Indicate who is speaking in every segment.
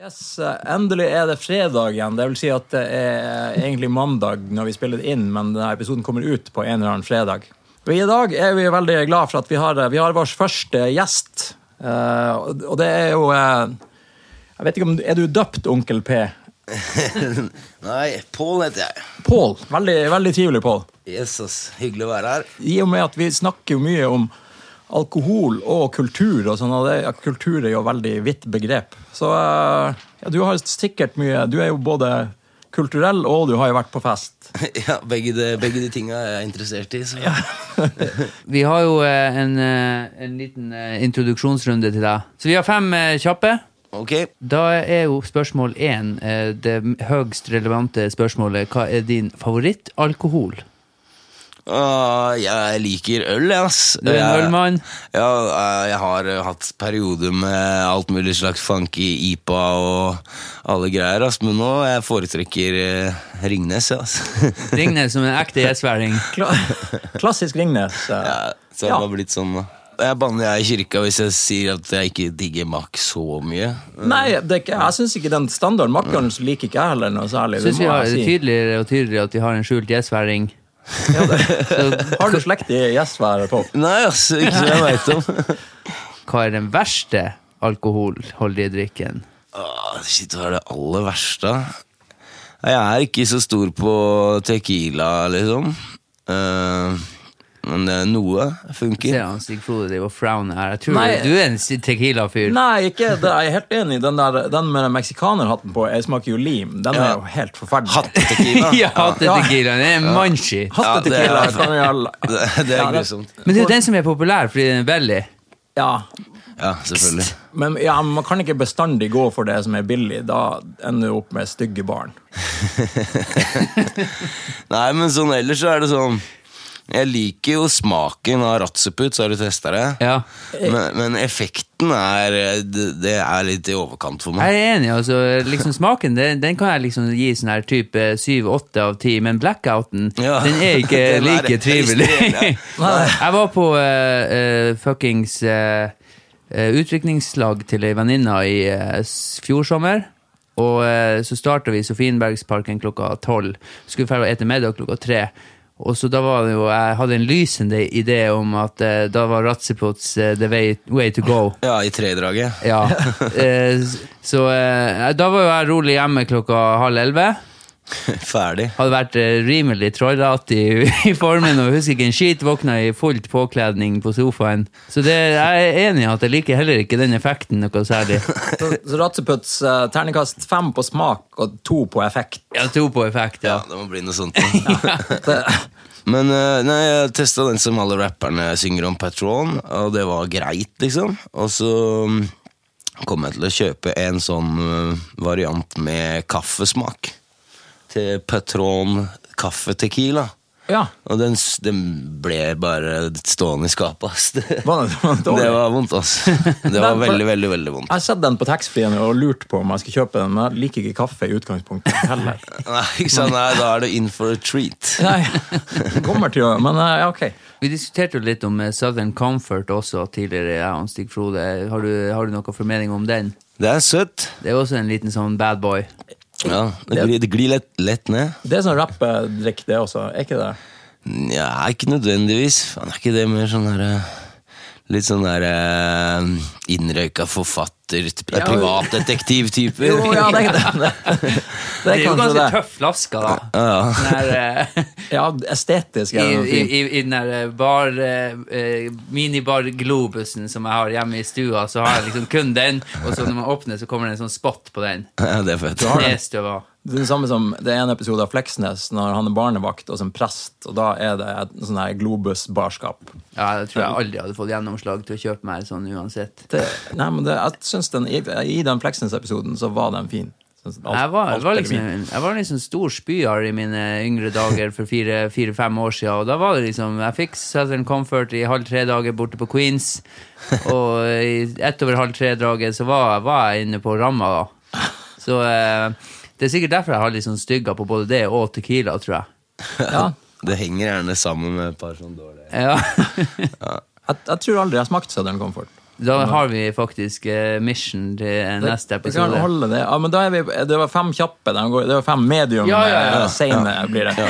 Speaker 1: Yes, eh, endelig er det fredag igjen. Det vil si at det er egentlig mandag når vi spiller det inn, men denne episoden kommer ut på en eller annen fredag. Og I dag er vi veldig glad for at vi har, vi har vår første gjest. Eh, og og det er jo eh, Jeg vet ikke om Er du døpt Onkel P?
Speaker 2: Nei, Pål heter jeg.
Speaker 1: Pål. Veldig, veldig trivelig, Pål.
Speaker 2: Jesus, hyggelig å være her.
Speaker 1: I og med at vi snakker jo mye om alkohol og kultur, og sånn, og det, ja, kultur er jo veldig vidt begrep. Så eh, ja, du har sikkert mye Du er jo både kulturell, og du har jo vært på fest.
Speaker 2: Ja, Begge de, begge de tinga er jeg interessert i. Så.
Speaker 3: Vi har jo eh, en, eh, en liten eh, introduksjonsrunde til deg. Så vi har fem eh, kjappe.
Speaker 2: Ok,
Speaker 3: Da er jo spørsmål én eh, det høyst relevante spørsmålet. Hva er din favorittalkohol?
Speaker 2: Ah, Jeg liker øl, jeg, ass.
Speaker 3: Du er en
Speaker 2: Jeg-
Speaker 3: ølmann.
Speaker 2: Ja, eh, jeg har eh, hatt perioder med alt mulig slags funky IPA og alle greier, ass. Men nå jeg foretrekker eh, Ringnes, jeg, ass.
Speaker 3: Ringnes som en ekte gjesværing.
Speaker 1: Kla klassisk Ringnes. eh.
Speaker 2: Ja, så det
Speaker 1: Ja.
Speaker 2: har bare blitt sånn, da. Jeg banner jeg i kirka hvis jeg sier at jeg ikke digger Mack så mye.
Speaker 1: Nei, det er ikke, jeg syns ikke den standarden makkeren liker ikke jeg heller noe særlig. det
Speaker 3: Syns vi
Speaker 1: må
Speaker 3: har
Speaker 1: jeg si.
Speaker 3: tydeligere og tydeligere at vi har en skjult gjesværing.
Speaker 1: Har du slekt i Gjesvær, Pål?
Speaker 2: Nei, ass, ikke som jeg veit om.
Speaker 3: Hva er den verste alkoholholdige drikken?
Speaker 2: Åh, Ah, shit, hva er det aller verste? Nei, Jeg er ikke så stor på tequila, liksom. Eh, men det er noe funker.
Speaker 3: Ser han Stig Frode driver og frowner her. Jeg tror
Speaker 1: Nei.
Speaker 3: du er en tequila-fyr.
Speaker 1: Nei, ikke det. Jeg er helt enig. Den, der, den med den meksikanerhatten på, jeg smaker jo lim. Den er
Speaker 2: Ja.
Speaker 1: jo helt forferdelig.
Speaker 2: Hattetequila.
Speaker 3: Ja, hater
Speaker 1: Ja.
Speaker 3: tequila. Det er en manchi.
Speaker 2: Ja,
Speaker 1: Hatte
Speaker 2: det er-
Speaker 1: tequila, kan vi alle-
Speaker 2: Det, det
Speaker 1: Ja,
Speaker 2: er
Speaker 1: det-
Speaker 2: grusomt.
Speaker 3: Men det er jo den som er populær fordi den er billig.
Speaker 1: Ja,
Speaker 2: Ja, selvfølgelig.
Speaker 1: men ja, man kan ikke bestandig gå for det som er billig. Da ender du opp med stygge barn.
Speaker 2: Nei, men sånn ellers så er det sånn Jeg liker jo smaken av ratseput, så har du testa det.
Speaker 3: Ja.
Speaker 2: Men, men effekten er eh, det, det er litt i overkant for meg.
Speaker 3: Jeg er enig, altså. Liksom smaken den, den kan jeg liksom gi sånn her type 7-8 av 10, men blackouten
Speaker 2: Ja.
Speaker 3: den er ikke
Speaker 2: Den er
Speaker 3: like trivelig.
Speaker 2: frustrerende.
Speaker 3: jeg var på eh, eh, fuckings eh, eh, utdrikningslag til ei venninne i eh, s- fjor sommer. Og eh, så starta vi i Sofienbergsparken klokka tolv. Skulle ferdig å ete middag klokka tre. Og så da var det jo, Jeg hadde en lysende idé om at eh, da var Ratsepots eh, the way, way to go.
Speaker 2: Ja, i tredraget.
Speaker 3: Ja. Eh, s- så eh, da var jo jeg rolig hjemme klokka halv elleve.
Speaker 2: Ferdig.
Speaker 3: Hadde vært eh, rimelig trollete i, i formen og husker ikke en skit. Våkna i fullt påkledning på sofaen. Så det, jeg er enig i at jeg liker heller ikke den effekten noe særlig.
Speaker 1: Så, så Ratseputs eh, terningkast fem på smak og to på effekt.
Speaker 3: Jeg tror på effekt, ja.
Speaker 2: Ja, det må bli noe sånt. nå.
Speaker 1: Det,
Speaker 2: Men eh, nei, jeg testa den som alle rapperne synger om, Patron, og det var greit, liksom. Og så mm, kom jeg til å kjøpe en sånn eh, variant med kaffesmak. Til Patron kaffetequila.
Speaker 1: ja,
Speaker 2: Og den, s- den ble bare stående i skapet, ass. Det,
Speaker 1: var det, var det dårlig?
Speaker 2: det var vondt, ass. Det var veldig, veldig, veldig vondt.
Speaker 1: Jeg har sett den på taxfree-en og lurt på om jeg skal kjøpe den, men jeg liker ikke kaffe i utgangspunktet heller.
Speaker 2: Nei, ikke sant? Nei, da er du in for a treat.
Speaker 1: Nei, jeg kommer til å Men eh, ja, ok.
Speaker 3: Vi diskuterte jo litt om eh, Southern Comfort også tidligere, jeg og Stig Frode. Har du, har du noen formening om den?
Speaker 2: Det er søtt.
Speaker 3: Det er også en liten sånn bad boy.
Speaker 2: Ja, det glir, det glir lett, lett ned.
Speaker 1: Det er sånn rappedrikk, det også, er ikke det?
Speaker 2: Nja, ikke nødvendigvis. Faen, er ikke det mer sånn derre Litt sånn der eh, innrøyka forfatter, t- privatdetektiv-typer.
Speaker 1: Jo, ja, det er det. Det, det er
Speaker 3: Det er jo
Speaker 1: kanskje
Speaker 3: ganske
Speaker 1: det.
Speaker 3: tøff flaske, da.
Speaker 2: Ja,
Speaker 3: Den her, eh,
Speaker 1: Ja, estetisk er
Speaker 3: I,
Speaker 1: det noe
Speaker 3: i,
Speaker 1: fint.
Speaker 3: i, I den der eh, bar, eh, eh, minibar Globusen som jeg har hjemme i stua, så har jeg liksom kun den, og så når man åpner, så kommer det en sånn spot på den.
Speaker 2: ja, det er fett.
Speaker 1: har den.
Speaker 3: Nedstøva.
Speaker 1: Det er det samme som det er en episode av Fleksnes når han er barnevakt og som prest, og da er det et sånn her globus-barskap.
Speaker 3: Ja, jeg tror jeg aldri hadde fått gjennomslag til å kjøpe meg sånn uansett.
Speaker 1: Det, nei, men det, jeg synes den, i, I den Fleksnes-episoden så var den fin. Synes alt-
Speaker 3: Jeg var,
Speaker 1: alt
Speaker 3: jeg var
Speaker 1: er
Speaker 3: liksom
Speaker 1: fint.
Speaker 3: en jeg var liksom stor spyar i mine yngre dager for fire-fem år siden, og da var det liksom Jeg fikk Southern Comfort i halv tre dager borte på Queens, og i ett over halv tre-draget så var, var jeg inne på ramma, da. Så eh, det er sikkert derfor jeg har litt sånn stygger på både det og Tequila, tror jeg.
Speaker 1: ja,
Speaker 2: Det henger gjerne sammen med et par sånn dårlige
Speaker 3: Ja.
Speaker 1: jeg, jeg tror aldri jeg har smakt Southern Comfort.
Speaker 3: Da har vi faktisk eh, mission til eh, neste
Speaker 1: Vi kan
Speaker 3: episode.
Speaker 1: holde det. Ja, men da er vi, det var fem kjappe. de går- Det var fem medium
Speaker 3: Ja, ja, ja.
Speaker 1: eh, sene, blir det.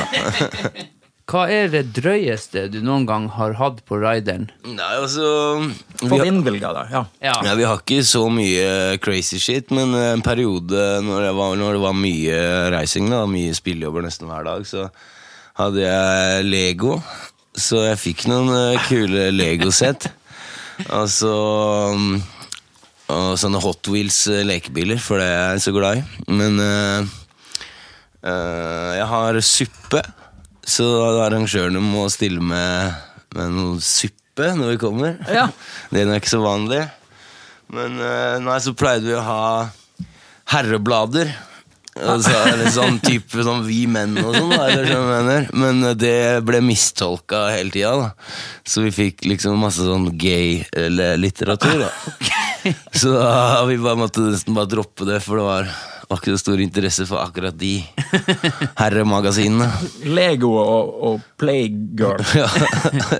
Speaker 3: Hva er det drøyeste du noen gang har hatt på rideren?
Speaker 2: Nei, altså vi
Speaker 1: Fått
Speaker 2: har,
Speaker 1: innvilga det. Ja.
Speaker 3: Ja.
Speaker 2: ja, vi har ikke så mye crazy shit, men eh, en periode når det var, når det var mye reising, da, mye spillejobber nesten hver dag, så hadde jeg Lego. Så jeg fikk noen eh, kule Lego-sett. Og så mm, Og sånne Hot Wheels eh, lekebiler, for det er jeg så glad i. Men eh, eh, jeg har suppe, så arrangørene må stille med, med noe suppe når vi kommer.
Speaker 1: Ja.
Speaker 2: Det er nok ikke så vanlig. Men eh, nei, så pleide vi å ha herreblader. Altså, eller sånn type sånn Vi menn og sånn, da, eller sånn mener. Men eh, det ble mistolka hele tida, da. Så vi fikk liksom masse sånn gay-litteratur, da. Så da vi bare måtte nesten bare droppe det, for det var, var ikke så stor interesse for akkurat de herremagasinene.
Speaker 1: Lego og, og Playgirl.
Speaker 2: Ja,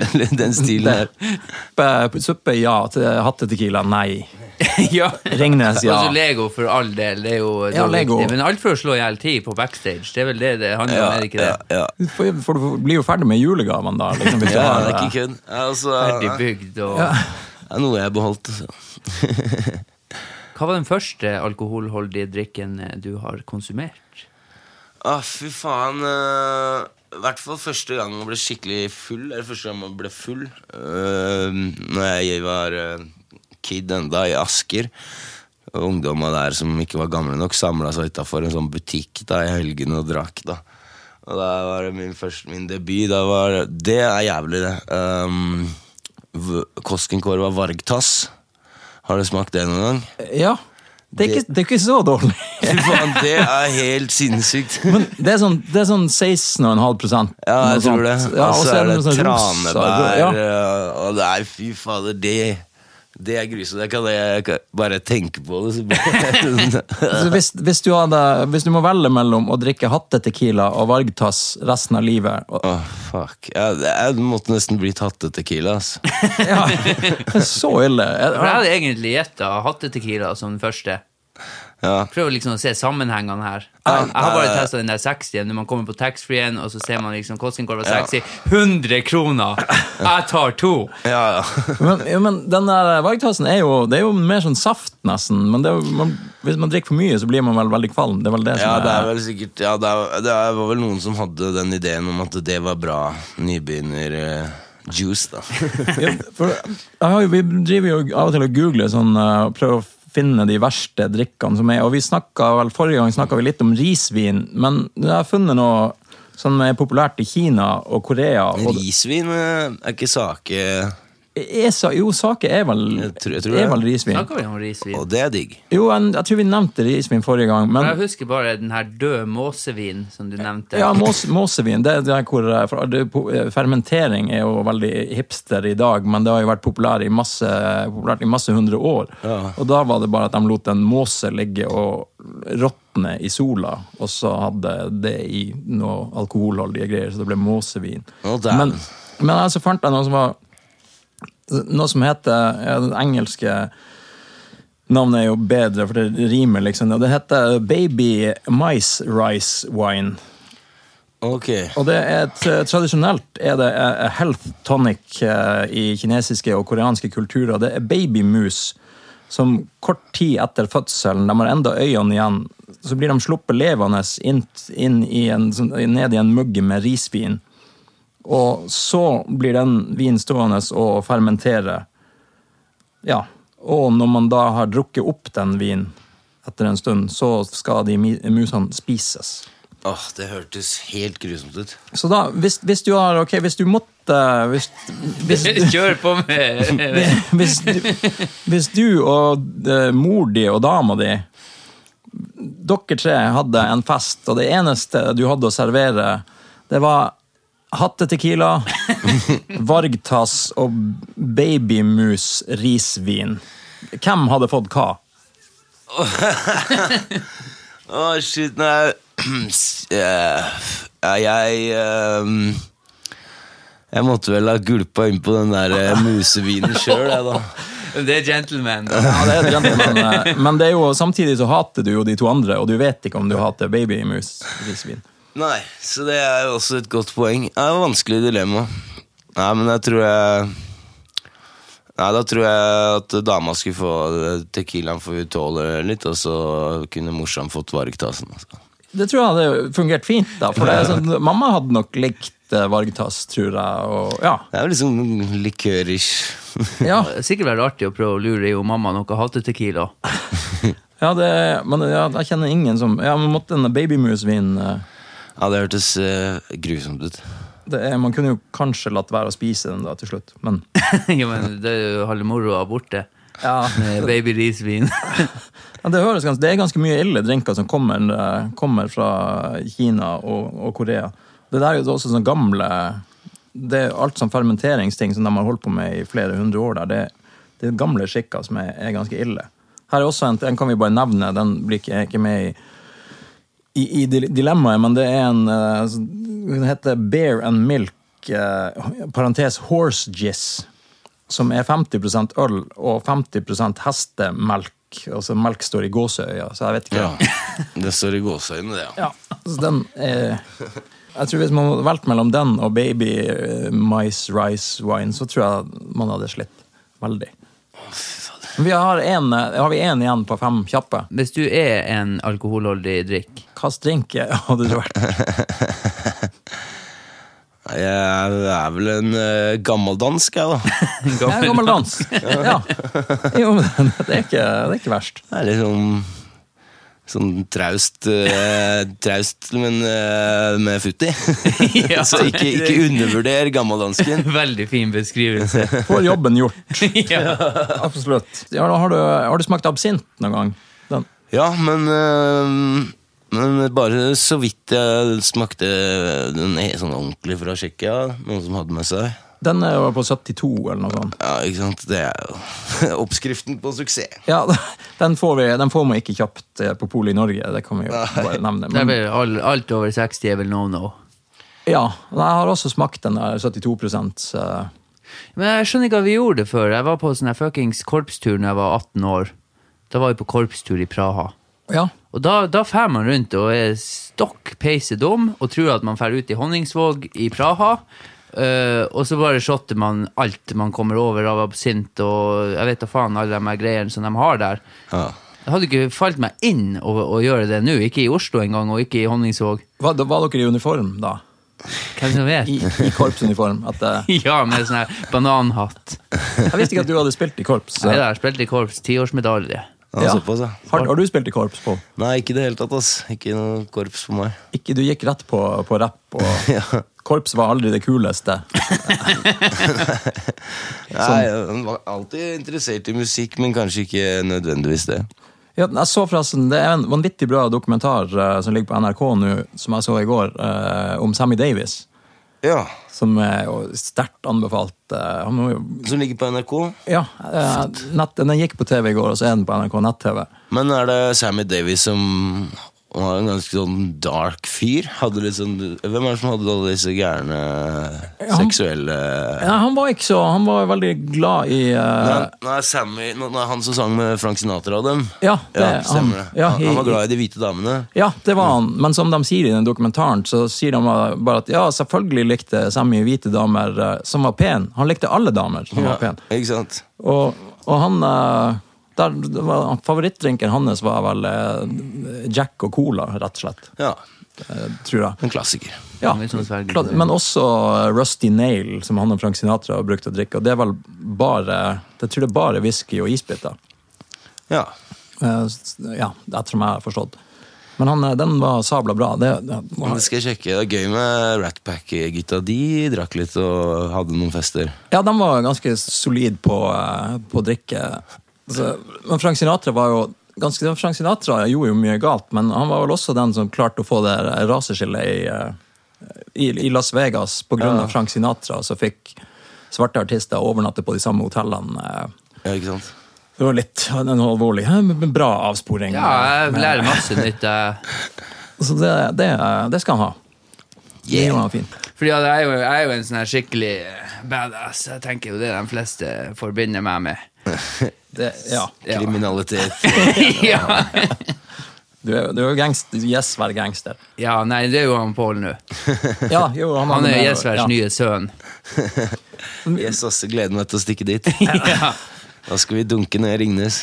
Speaker 2: eller den stilen der.
Speaker 1: Suppe, suppe ja. Te- Hattetequila nei.
Speaker 3: ja.
Speaker 1: Ringnes ja.
Speaker 3: Altså Lego for all del, det er jo det er
Speaker 1: Ja,
Speaker 3: jo
Speaker 1: Lego.
Speaker 3: viktig. Men alt for å slå i hjel tid på backstage, det er vel det det handler om,
Speaker 2: Ja,
Speaker 3: er det ikke
Speaker 2: ja,
Speaker 3: det?
Speaker 2: ja.
Speaker 1: Du får, for du blir jo ferdig med julegavene da. Liksom, hvis du
Speaker 2: ja,
Speaker 1: har,
Speaker 2: det er
Speaker 1: eh,
Speaker 2: ikke kødd. Ja, Altså,
Speaker 3: Ferdig bygd og
Speaker 2: det er noe jeg beholdt. altså.
Speaker 3: Hva var den første alkoholholdige drikken eh, du har konsumert?
Speaker 2: Ah, fy faen. eh, I hvert fall første gang man ble skikkelig full. Eller første gang man ble full. Uh, når jeg var eh, kid enda i Asker. Og Ungdomma der som ikke var gamle nok, samla seg utafor en sånn butikk da i helgene og drakk. da Og da var det min første min debut. Da var, det er jævlig, det. Um, v- Koskenkorva vargtass. Har du smakt det noen gang?
Speaker 1: Ja. Det er, ikke, det er ikke så dårlig.
Speaker 2: Fy faen, det er helt sinnssykt.
Speaker 1: Men det er sånn, det er sånn 16,5
Speaker 2: Ja,
Speaker 1: noe
Speaker 2: jeg tror det.
Speaker 1: sånt. Ja,
Speaker 2: Og så er det
Speaker 1: noe sånn rosa-
Speaker 2: tranebær
Speaker 1: Ja.
Speaker 2: og- og Nei, fy fader, det det er grusomt. Jeg kan, jeg kan bare tenke på det. Så bare,
Speaker 1: Så Altså, Hvis, hvis, du hadde, hvis du må velge mellom å drikke hattetequila og vargtass resten av livet og,
Speaker 2: Åh, fuck. Jeg, jeg måtte nesten bli tatt til tequila. ass.
Speaker 1: ja, Det er så ille. Jeg,
Speaker 3: For jeg hadde egentlig gjetta hattetequila som den første.
Speaker 2: Ja.
Speaker 3: Prøver liksom å se sammenhengene her. Jeg har bare testa den der 60 når man kommer på taxfree-en, og så ser man liksom Koskenkorva 60. 100 kroner! Jeg tar to!
Speaker 2: Ja, ja.
Speaker 1: men, ja, men den der vargtassen er jo, det er jo mer sånn saft, nesten. Men det er, jo- man, hvis man drikker for mye, så blir man vel veldig kvalm. Det er vel det som
Speaker 2: ja, det er
Speaker 1: er,
Speaker 2: vel sikkert ja, det, er, det er- var vel noen som hadde den ideen om at det var bra nybegynner-juice, da.
Speaker 1: Ja, for, jeg har jo, Vi driver jo av og til og googler sånn, eh, og prøver å finne de verste drikkene som er. Og vi snakket, vel, Forrige gang snakka vi litt om risvin, men jeg har funnet noe som er populært i Kina og Korea. Og
Speaker 2: Risvin eh, er ikke sake
Speaker 1: Er sa- E jo, sake er vel,
Speaker 2: Jeg tror- jeg tror
Speaker 1: er
Speaker 2: det.
Speaker 1: vel risvin.
Speaker 3: Snakker vi om risvin?
Speaker 2: Og det er digg.
Speaker 1: Jo, en, jeg tror vi nevnte risvin forrige gang,
Speaker 3: Jeg
Speaker 1: men
Speaker 3: husker bare den her døde måsevin som du nevnte.
Speaker 1: ja, mås, måsevin det er der hvor eh, for, det, po- eh, Fermentering er jo veldig hipster i dag, men det har jo vært populær i masse, populært i masse hundre år. Og da var det bare at de lot en måse ligge og råtne i sola, og så hadde det i noe alkoholholdige greier, så det ble måsevin.
Speaker 2: Å, dæven.
Speaker 1: men, men altså fant jeg noe som var Noe som heter ja, den engelske Navnet er jo bedre, for det rimer, liksom. Og det heter Baby Mice Rice Wine.
Speaker 2: Ok.
Speaker 1: Og det er et, eh, tradisjonelt er det eh, health tonic eh, i kinesiske og koreanske kulturer. Det er babymus som kort tid etter fødselen, de har enda øynene igjen, så blir de sluppet levende inn, inn i en, sånn- ned i en mugge med risvin. Og så blir den vinen stående og fermentere. Ja. Og når man da har drukket opp den vinen etter en stund, så skal de mi- musene spises.
Speaker 2: Åh, Det hørtes helt grusomt ut.
Speaker 1: Så da, hvis, hvis du har Ok, hvis du måtte Hvis, hvis,
Speaker 3: Kjør på med
Speaker 1: hvis, du, hvis du og eh, mor di og dama di Dere tre hadde en fest, og det eneste du hadde å servere, det var hatte tequila, vargtass og babymus risvin. Hvem hadde fått hva?
Speaker 2: Å, shit, nei Eh, ja, Jeg ehm, Jeg måtte vel ha gulpa innpå den der eh, musevinen sjøl, jeg, da.
Speaker 3: Det er gentleman.
Speaker 1: Ja, det er et gentleman, eh, men det er jo, samtidig så hater du jo de to andre, og du vet ikke om du hater babymus. Risvin.
Speaker 2: Nei, så det er jo også et godt poeng. Det er et vanskelig dilemma. Nei, men jeg tror jeg Nei, da tror jeg at dama skulle få eh, Tequilaen for hun tåler litt, og så kunne morsan fått vargtassen. Altså.
Speaker 1: Det tror jeg hadde fungert fint, da. For det er sånn, mamma hadde nok likt eh, vargtass, tror jeg. Og, ja.
Speaker 2: Det er jo liksom likørish.
Speaker 1: Ja,
Speaker 3: Det er Sikkert vært artig å prøve å lure i om mamma noe hater tequila.
Speaker 1: ja, det, men ja, jeg kjenner ingen som Ja, men måtte en babymus vinne? eh,
Speaker 2: Ja, det hørtes eh, grusomt ut.
Speaker 1: Det er, man kunne jo kanskje latt være å spise den da til slutt, men
Speaker 3: ja, men det er jo halve moroa borte.
Speaker 1: ja.
Speaker 3: Med baby risvin.
Speaker 1: det, høres ganske, det er ganske mye ille drinker som kommer, eh, kommer fra Kina og, og Korea. Det der er jo også sånne gamle det er Alt sånn fermenteringsting som de har holdt på med i flere hundre år, der, det, det er gamle skikker som er, er ganske ille. Her er også en, den kan vi bare nevne, den blir ikke, ikke med i i, i dile- dilemmaet, men det er en eh, s- Den heter Bear and Milk, eh, parentes Horse Jizz, som er 50 øl og 50 hestemelk. Altså melk står i gåseøya, så jeg vet ikke.
Speaker 2: Ja. Det står i gåseøynene, det, ja.
Speaker 1: Ja, så den er Jeg tror Hvis man hadde valgt mellom den og Baby eh, Mice Rice Wine, så tror jeg man hadde slitt veldig. Vi har, en, eh, har vi én igjen på fem kjappe?
Speaker 3: Hvis du er en alkoholholdig drikk
Speaker 1: Hvilken drink hadde det vært?
Speaker 2: Jeg er vel en eh, gammeldansk, jeg, da.
Speaker 1: Ja, en gammel dans. Ja. Jo, men det er ikke, det er ikke verst.
Speaker 2: Det er litt sånn, sånn traust, eh, traust men eh, med futt i.
Speaker 3: Ja,
Speaker 2: Så ikke, ikke undervurder gammeldansken.
Speaker 3: Veldig fin beskrivelse.
Speaker 1: Får jobben gjort.
Speaker 3: ja.
Speaker 1: Absolutt. Ja, da har, du, har du smakt absint noen gang? Den.
Speaker 2: Ja, men eh, men bare så vidt jeg smakte den er sånn ordentlig fra Tsjekkia. Noen som hadde med seg.
Speaker 1: Den er jo på 72 eller noe sånt.
Speaker 2: Ja, ikke sant? Det er jo oppskriften på suksess.
Speaker 1: Ja, den får, vi, den får man ikke kjøpt eh, på polet i Norge, det kan vi jo bare nevne.
Speaker 3: Det er
Speaker 1: Men,
Speaker 3: vel all, alt over 60 er vel no no.
Speaker 1: ja, men jeg har også smakt den der 72 eh,
Speaker 3: Men jeg skjønner ikke hva vi gjorde det før. Jeg var på sånn her fuckings korpstur da jeg var 18 år. Da var vi på korpstur i Praha.
Speaker 1: Ja.
Speaker 3: Og da, da fær man rundt og er stokk peise dum og tror at man fær ut i Honningsvåg i Praha. eh, og så bare shotter man alt man kommer over av absint og jeg vet da faen alle de her greiene som de har der.
Speaker 2: Ja.
Speaker 3: Det hadde ikke falt meg inn å, å gjøre det nå. Ikke i Oslo engang, og ikke i Honningsvåg.
Speaker 1: Var, da var dere i uniform da?
Speaker 3: Hvem som vet?
Speaker 1: I, i korpsuniform? At, eh,
Speaker 3: Ja, med sånn her bananhatt.
Speaker 1: jeg visste ikke at du hadde spilt i korps.
Speaker 3: Jeg der, spilte i korps, tiårsmedalje.
Speaker 2: Ja,
Speaker 1: Ja.
Speaker 2: Såpass, ja.
Speaker 1: Har, har du spilt i korps, Pål?
Speaker 2: Nei, ikke i det hele tatt, ass. Ikke noe korps på meg.
Speaker 1: Ikke, du gikk rett på, på rapp, og korps var aldri det kuleste.
Speaker 2: Nei, jeg var alltid interessert i musikk, men kanskje ikke nødvendigvis det.
Speaker 1: Ja, jeg så forresten, Det er en vanvittig bra dokumentar eh, som ligger på NRK nå, som jeg så i går, eh, om Sammy Davis.
Speaker 2: Ja,
Speaker 1: Som er jo sterkt anbefalt. eh, han må jo,
Speaker 2: Som ligger på NRK.
Speaker 1: ja, eh, nett, Den gikk på TV i går, og så er den på NRK nett-TV.
Speaker 2: Men er det Sammy Davis som var en ganske sånn dark fyr? Hadde litt sånn, hvem er det som hadde alle disse gærne
Speaker 1: han-
Speaker 2: seksuelle
Speaker 1: Ja, han var ikke så, han var veldig glad i eh,
Speaker 2: Nei, nei, Sammy, nå- nå er han som sang med Frank Sinatra og dem.
Speaker 1: Ja, det er
Speaker 2: ja stemmer det.
Speaker 1: han. Ja,
Speaker 2: han,
Speaker 1: i-
Speaker 2: han var glad i de hvite damene.
Speaker 1: Ja, det var han. Men som de sier i den dokumentaren, så sier de bare at ja, selvfølgelig likte Sammy hvite damer eh, som var pen. Han likte alle damer som var pen.
Speaker 2: Ikke sant?
Speaker 1: Og, og han eh, der, det var, Favorittdrinken hans var vel eh, Jack og cola, rett og slett.
Speaker 2: Ja,
Speaker 1: eh, Tror jeg.
Speaker 2: en klassiker.
Speaker 1: Ja.
Speaker 3: Litt sånn sverger.
Speaker 1: Klart, Men også eh, Rusty Nail, som han og Frank Sinatra har brukt å drikke. Og det er vel bare Jeg tror det er bare whisky og isbiter.
Speaker 2: Ja.
Speaker 1: Eh, s- Ja, ettersom jeg har forstått. Men han, eh, den var sabla bra. Det, det,
Speaker 2: Det skal jeg sjekke. Det er gøy med Ratpack-gutta. De drakk litt og hadde noen fester.
Speaker 1: Ja, de var ganske solid på, eh, på å drikke. Altså, men Frank Sinatra var jo ganske, Frank Sinatra gjorde jo mye galt, men han var vel også den som klarte å få det raseskillet i, eh, i, i Las Vegas på grunn av Frank Sinatra, så fikk svarte artister overnatte på de samme hotellene. eh.
Speaker 2: Ja, ikke sant?
Speaker 1: Det var litt en alvorlig, eh, men bra avsporing.
Speaker 3: Ja, jeg lærer masse nytt. jeg.
Speaker 1: Så det, det, eh, det skal han ha. Det gjorde han fint.
Speaker 3: Fordi at eh, jeg er jo, jeg er jo en sånn her skikkelig badass. Jeg tenker jo det de fleste forbinder meg med.
Speaker 1: Det, ja.
Speaker 2: Kriminalitet.
Speaker 3: ja.
Speaker 1: Du er, du er jo gangster. Yes, være gangster.
Speaker 3: ja, nei, det er jo han Pål nå.
Speaker 1: Ja, jo, han,
Speaker 3: Han
Speaker 1: hadde
Speaker 3: er
Speaker 1: med-
Speaker 3: Jesvers
Speaker 1: ja.
Speaker 3: nye sønn.
Speaker 2: Jeg yes, gleder meg til å stikke dit.
Speaker 3: Ja.
Speaker 2: Da skal vi dunke ned Ringnes.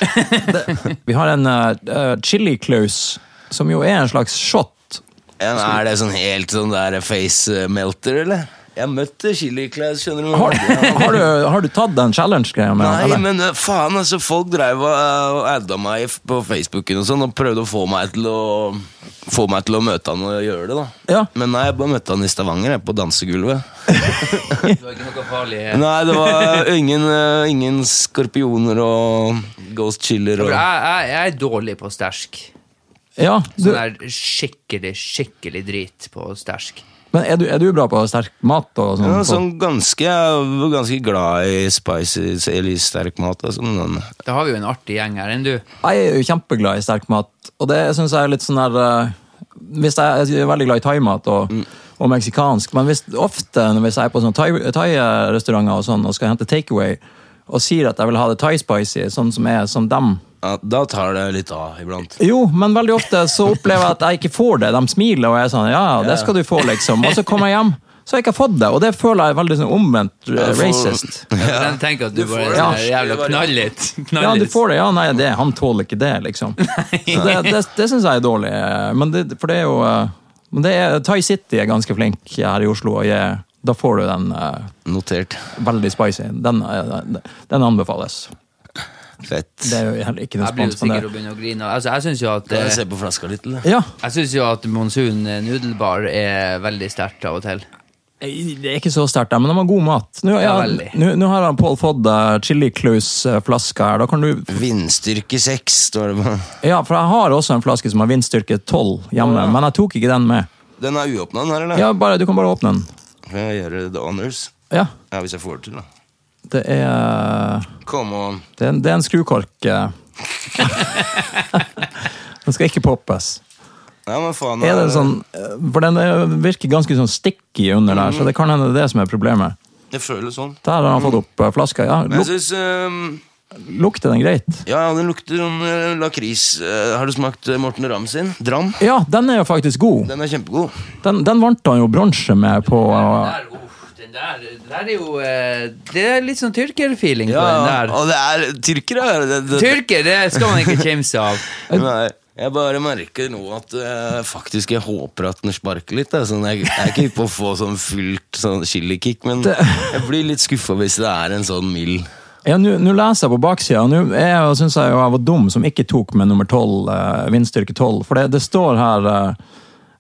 Speaker 1: Vi har en eh, eh, chili close, som jo er en slags shot.
Speaker 2: Ja, men er det sånn helt sånn der face melter, eller? Jeg møtte Chili Claus, skjønner du.
Speaker 1: Har, har, du, har du tatt den challenge-greia med han,
Speaker 2: Nei,
Speaker 1: eller?
Speaker 2: men eh, faen, altså, folk drev og eh, adda meg f- på Facebooken og sånn, og prøvde å få meg til å Få meg til å møte han og gjøre det, da.
Speaker 1: Ja.
Speaker 2: Men nei, jeg bare møtte han i Stavanger, jeg, på dansegulvet.
Speaker 3: Det var ikke noe farlig.
Speaker 2: Nei, det var ingen, eh, ingen skorpioner og ghost chiller
Speaker 3: For
Speaker 2: og
Speaker 3: jeg, jeg, jeg er dårlig på stæsj.
Speaker 1: Ja, du,
Speaker 3: Sånn der skikkelig, skikkelig drit på stæsj.
Speaker 1: men er du, er du bra på sterk mat og sånn?
Speaker 2: ja,
Speaker 1: på-
Speaker 2: sånn ganske, jeg var ganske glad i spicy eller sterk mat. Altså, men
Speaker 3: Da har vi jo en artig gjeng her enn du.
Speaker 1: Jeg er jo kjempeglad i sterk mat, og det syns jeg er litt sånn der eh, Hvis jeg, jeg er veldig glad i thaimat og,
Speaker 2: Mm.
Speaker 1: og meksikansk, men hvis, ofte når- hvis jeg er på sånne thai- thai-restauranter og sånn og skal hente takeaway og sier at jeg vil ha det thai-spicy, sånn som er som dem
Speaker 2: ja, da tar det litt av iblant.
Speaker 1: Jo, men veldig ofte så opplever jeg at jeg ikke får det. De smiler og jeg er sånn Ja, det skal du få, liksom. Og så kommer jeg hjem, så har jeg ikke fått det. Og det føler jeg er veldig sånn omvendt eh,
Speaker 2: Jeg får-
Speaker 1: racist.
Speaker 3: Den tenker at du,
Speaker 2: Du
Speaker 3: bare
Speaker 2: får det.
Speaker 3: er sånn der
Speaker 2: Ja.
Speaker 3: jævla knallet.
Speaker 1: Ja, du
Speaker 3: knallet.
Speaker 1: får det. Ja, nei, det, han tåler ikke det, liksom. Så det det, det syns jeg er dårlig. eh, Men det, for det er jo eh, men det er, Thai City er ganske flink her i Oslo, og jeg, da får du den eh,
Speaker 2: Notert.
Speaker 1: veldig spicy. Den, eh, den- den anbefales.
Speaker 2: Fett.
Speaker 1: Det er jo heller ikke noe
Speaker 3: Jeg blir jo
Speaker 1: spons, men
Speaker 3: sikkert å
Speaker 1: det
Speaker 3: begynne å grine. Altså, jeg syns jo at
Speaker 2: Kan
Speaker 3: eh,
Speaker 2: jeg se på flaska litt, eller?
Speaker 1: ja,
Speaker 3: jeg synes jo at Monsun eh, nudelbar er veldig sterkt av og til.
Speaker 1: det er ikke så sterkt, der, men de har god mat. Nå, ja,
Speaker 3: Ja, veldig.
Speaker 1: nå, nå har han Pål fått eh, Chili Close-flaska her. Da kan du
Speaker 2: Vindstyrke 6, står det på.
Speaker 1: Ja, for jeg har også en flaske som har vindstyrke 12 hjemme, men jeg tok ikke den med.
Speaker 2: Den er uåpna, den her, eller?
Speaker 1: Ja, bare, Du kan bare åpne den.
Speaker 2: Kan jeg gjøre the honors?
Speaker 1: Ja,
Speaker 2: Ja, hvis jeg får det til, da.
Speaker 1: det er
Speaker 2: Kom og
Speaker 1: Det er en, det er en skrukork. eh. den skal ikke poppes.
Speaker 2: Ja, men faen.
Speaker 1: Er det
Speaker 2: det-
Speaker 1: sånn, eh, for den er, virker ganske sånn sticky under der, så det kan hende det er det som er problemet.
Speaker 2: Jeg føler sånn.
Speaker 1: Der har han fått opp eh, flaska. Ja,
Speaker 2: Men jeg
Speaker 1: luk,
Speaker 2: syns ehm,
Speaker 1: lukter den greit?
Speaker 2: Ja, den lukter sånn eh, lakris. Eh, har du smakt eh, Morten Ramm sin? Dram?
Speaker 1: Ja, den er jo faktisk god.
Speaker 2: Den er kjempegod.
Speaker 1: Den, den vant han jo bronse med på eh,
Speaker 3: den der, er jo eh, Det er litt sånn tyrkerfeeling på den
Speaker 2: Ja,
Speaker 3: der.
Speaker 1: altså,
Speaker 2: og det er tyrkere. er Det, det, det.
Speaker 3: Tyrker, det skal man ikke kimse av.
Speaker 2: Nei, jeg bare merker nå at eh, faktisk jeg håper at den sparker litt. da. Sånn, jeg, jeg er ikke på å få sånn fullt sånn chilikick, men jeg blir litt skuffa hvis det er en sånn mild
Speaker 1: Ja, Nå nå leser jeg på baksida, og nå er jeg- syns jeg jo jeg var dum som ikke tok med nummer 12, eh, vindstyrke 12. For det, det står her eh,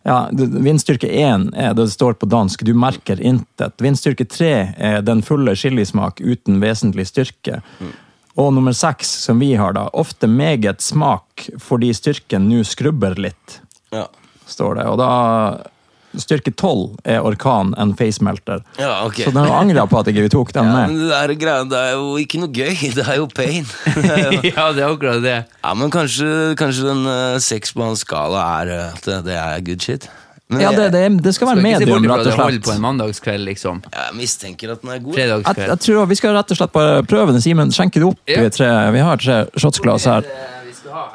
Speaker 1: ja, det- Vindstyrke 1 er det det står på dansk, du merker intet. Vindstyrke 3 er den fulle chilismak uten vesentlig styrke. Og nummer 6, som vi har, da, ofte meget smak fordi styrken nå skrubber litt,
Speaker 2: Ja,
Speaker 1: står det. Og da Styrke 12 er orkan, en facemelter.
Speaker 2: ja ok.
Speaker 1: Så den angra på at ikke vi tok den
Speaker 2: Ja,
Speaker 1: Sånn med.
Speaker 2: men det der greia, det er jo ikke noe gøy. Det er jo pain.
Speaker 3: ja, det er akkurat det.
Speaker 2: ja, men kanskje, kanskje den eh, seks på hans skala er eh, at det, det er good shit. Men
Speaker 1: Ja, det,
Speaker 2: jeg,
Speaker 1: det, det skal være
Speaker 3: Skal ikke se bort
Speaker 1: medium,
Speaker 3: ifra at
Speaker 1: rett og
Speaker 3: det holder på
Speaker 1: slett.
Speaker 3: en mandagskveld, liksom.
Speaker 2: jeg mistenker at den er god.
Speaker 1: Jeg, jeg
Speaker 3: Fredagskveld.
Speaker 1: tror Vi skal rett og slett bare prøve den, Simen. Skjenke det opp.
Speaker 3: Ja.
Speaker 1: Vi, tre, vi har tre shotsglass her.
Speaker 3: eh,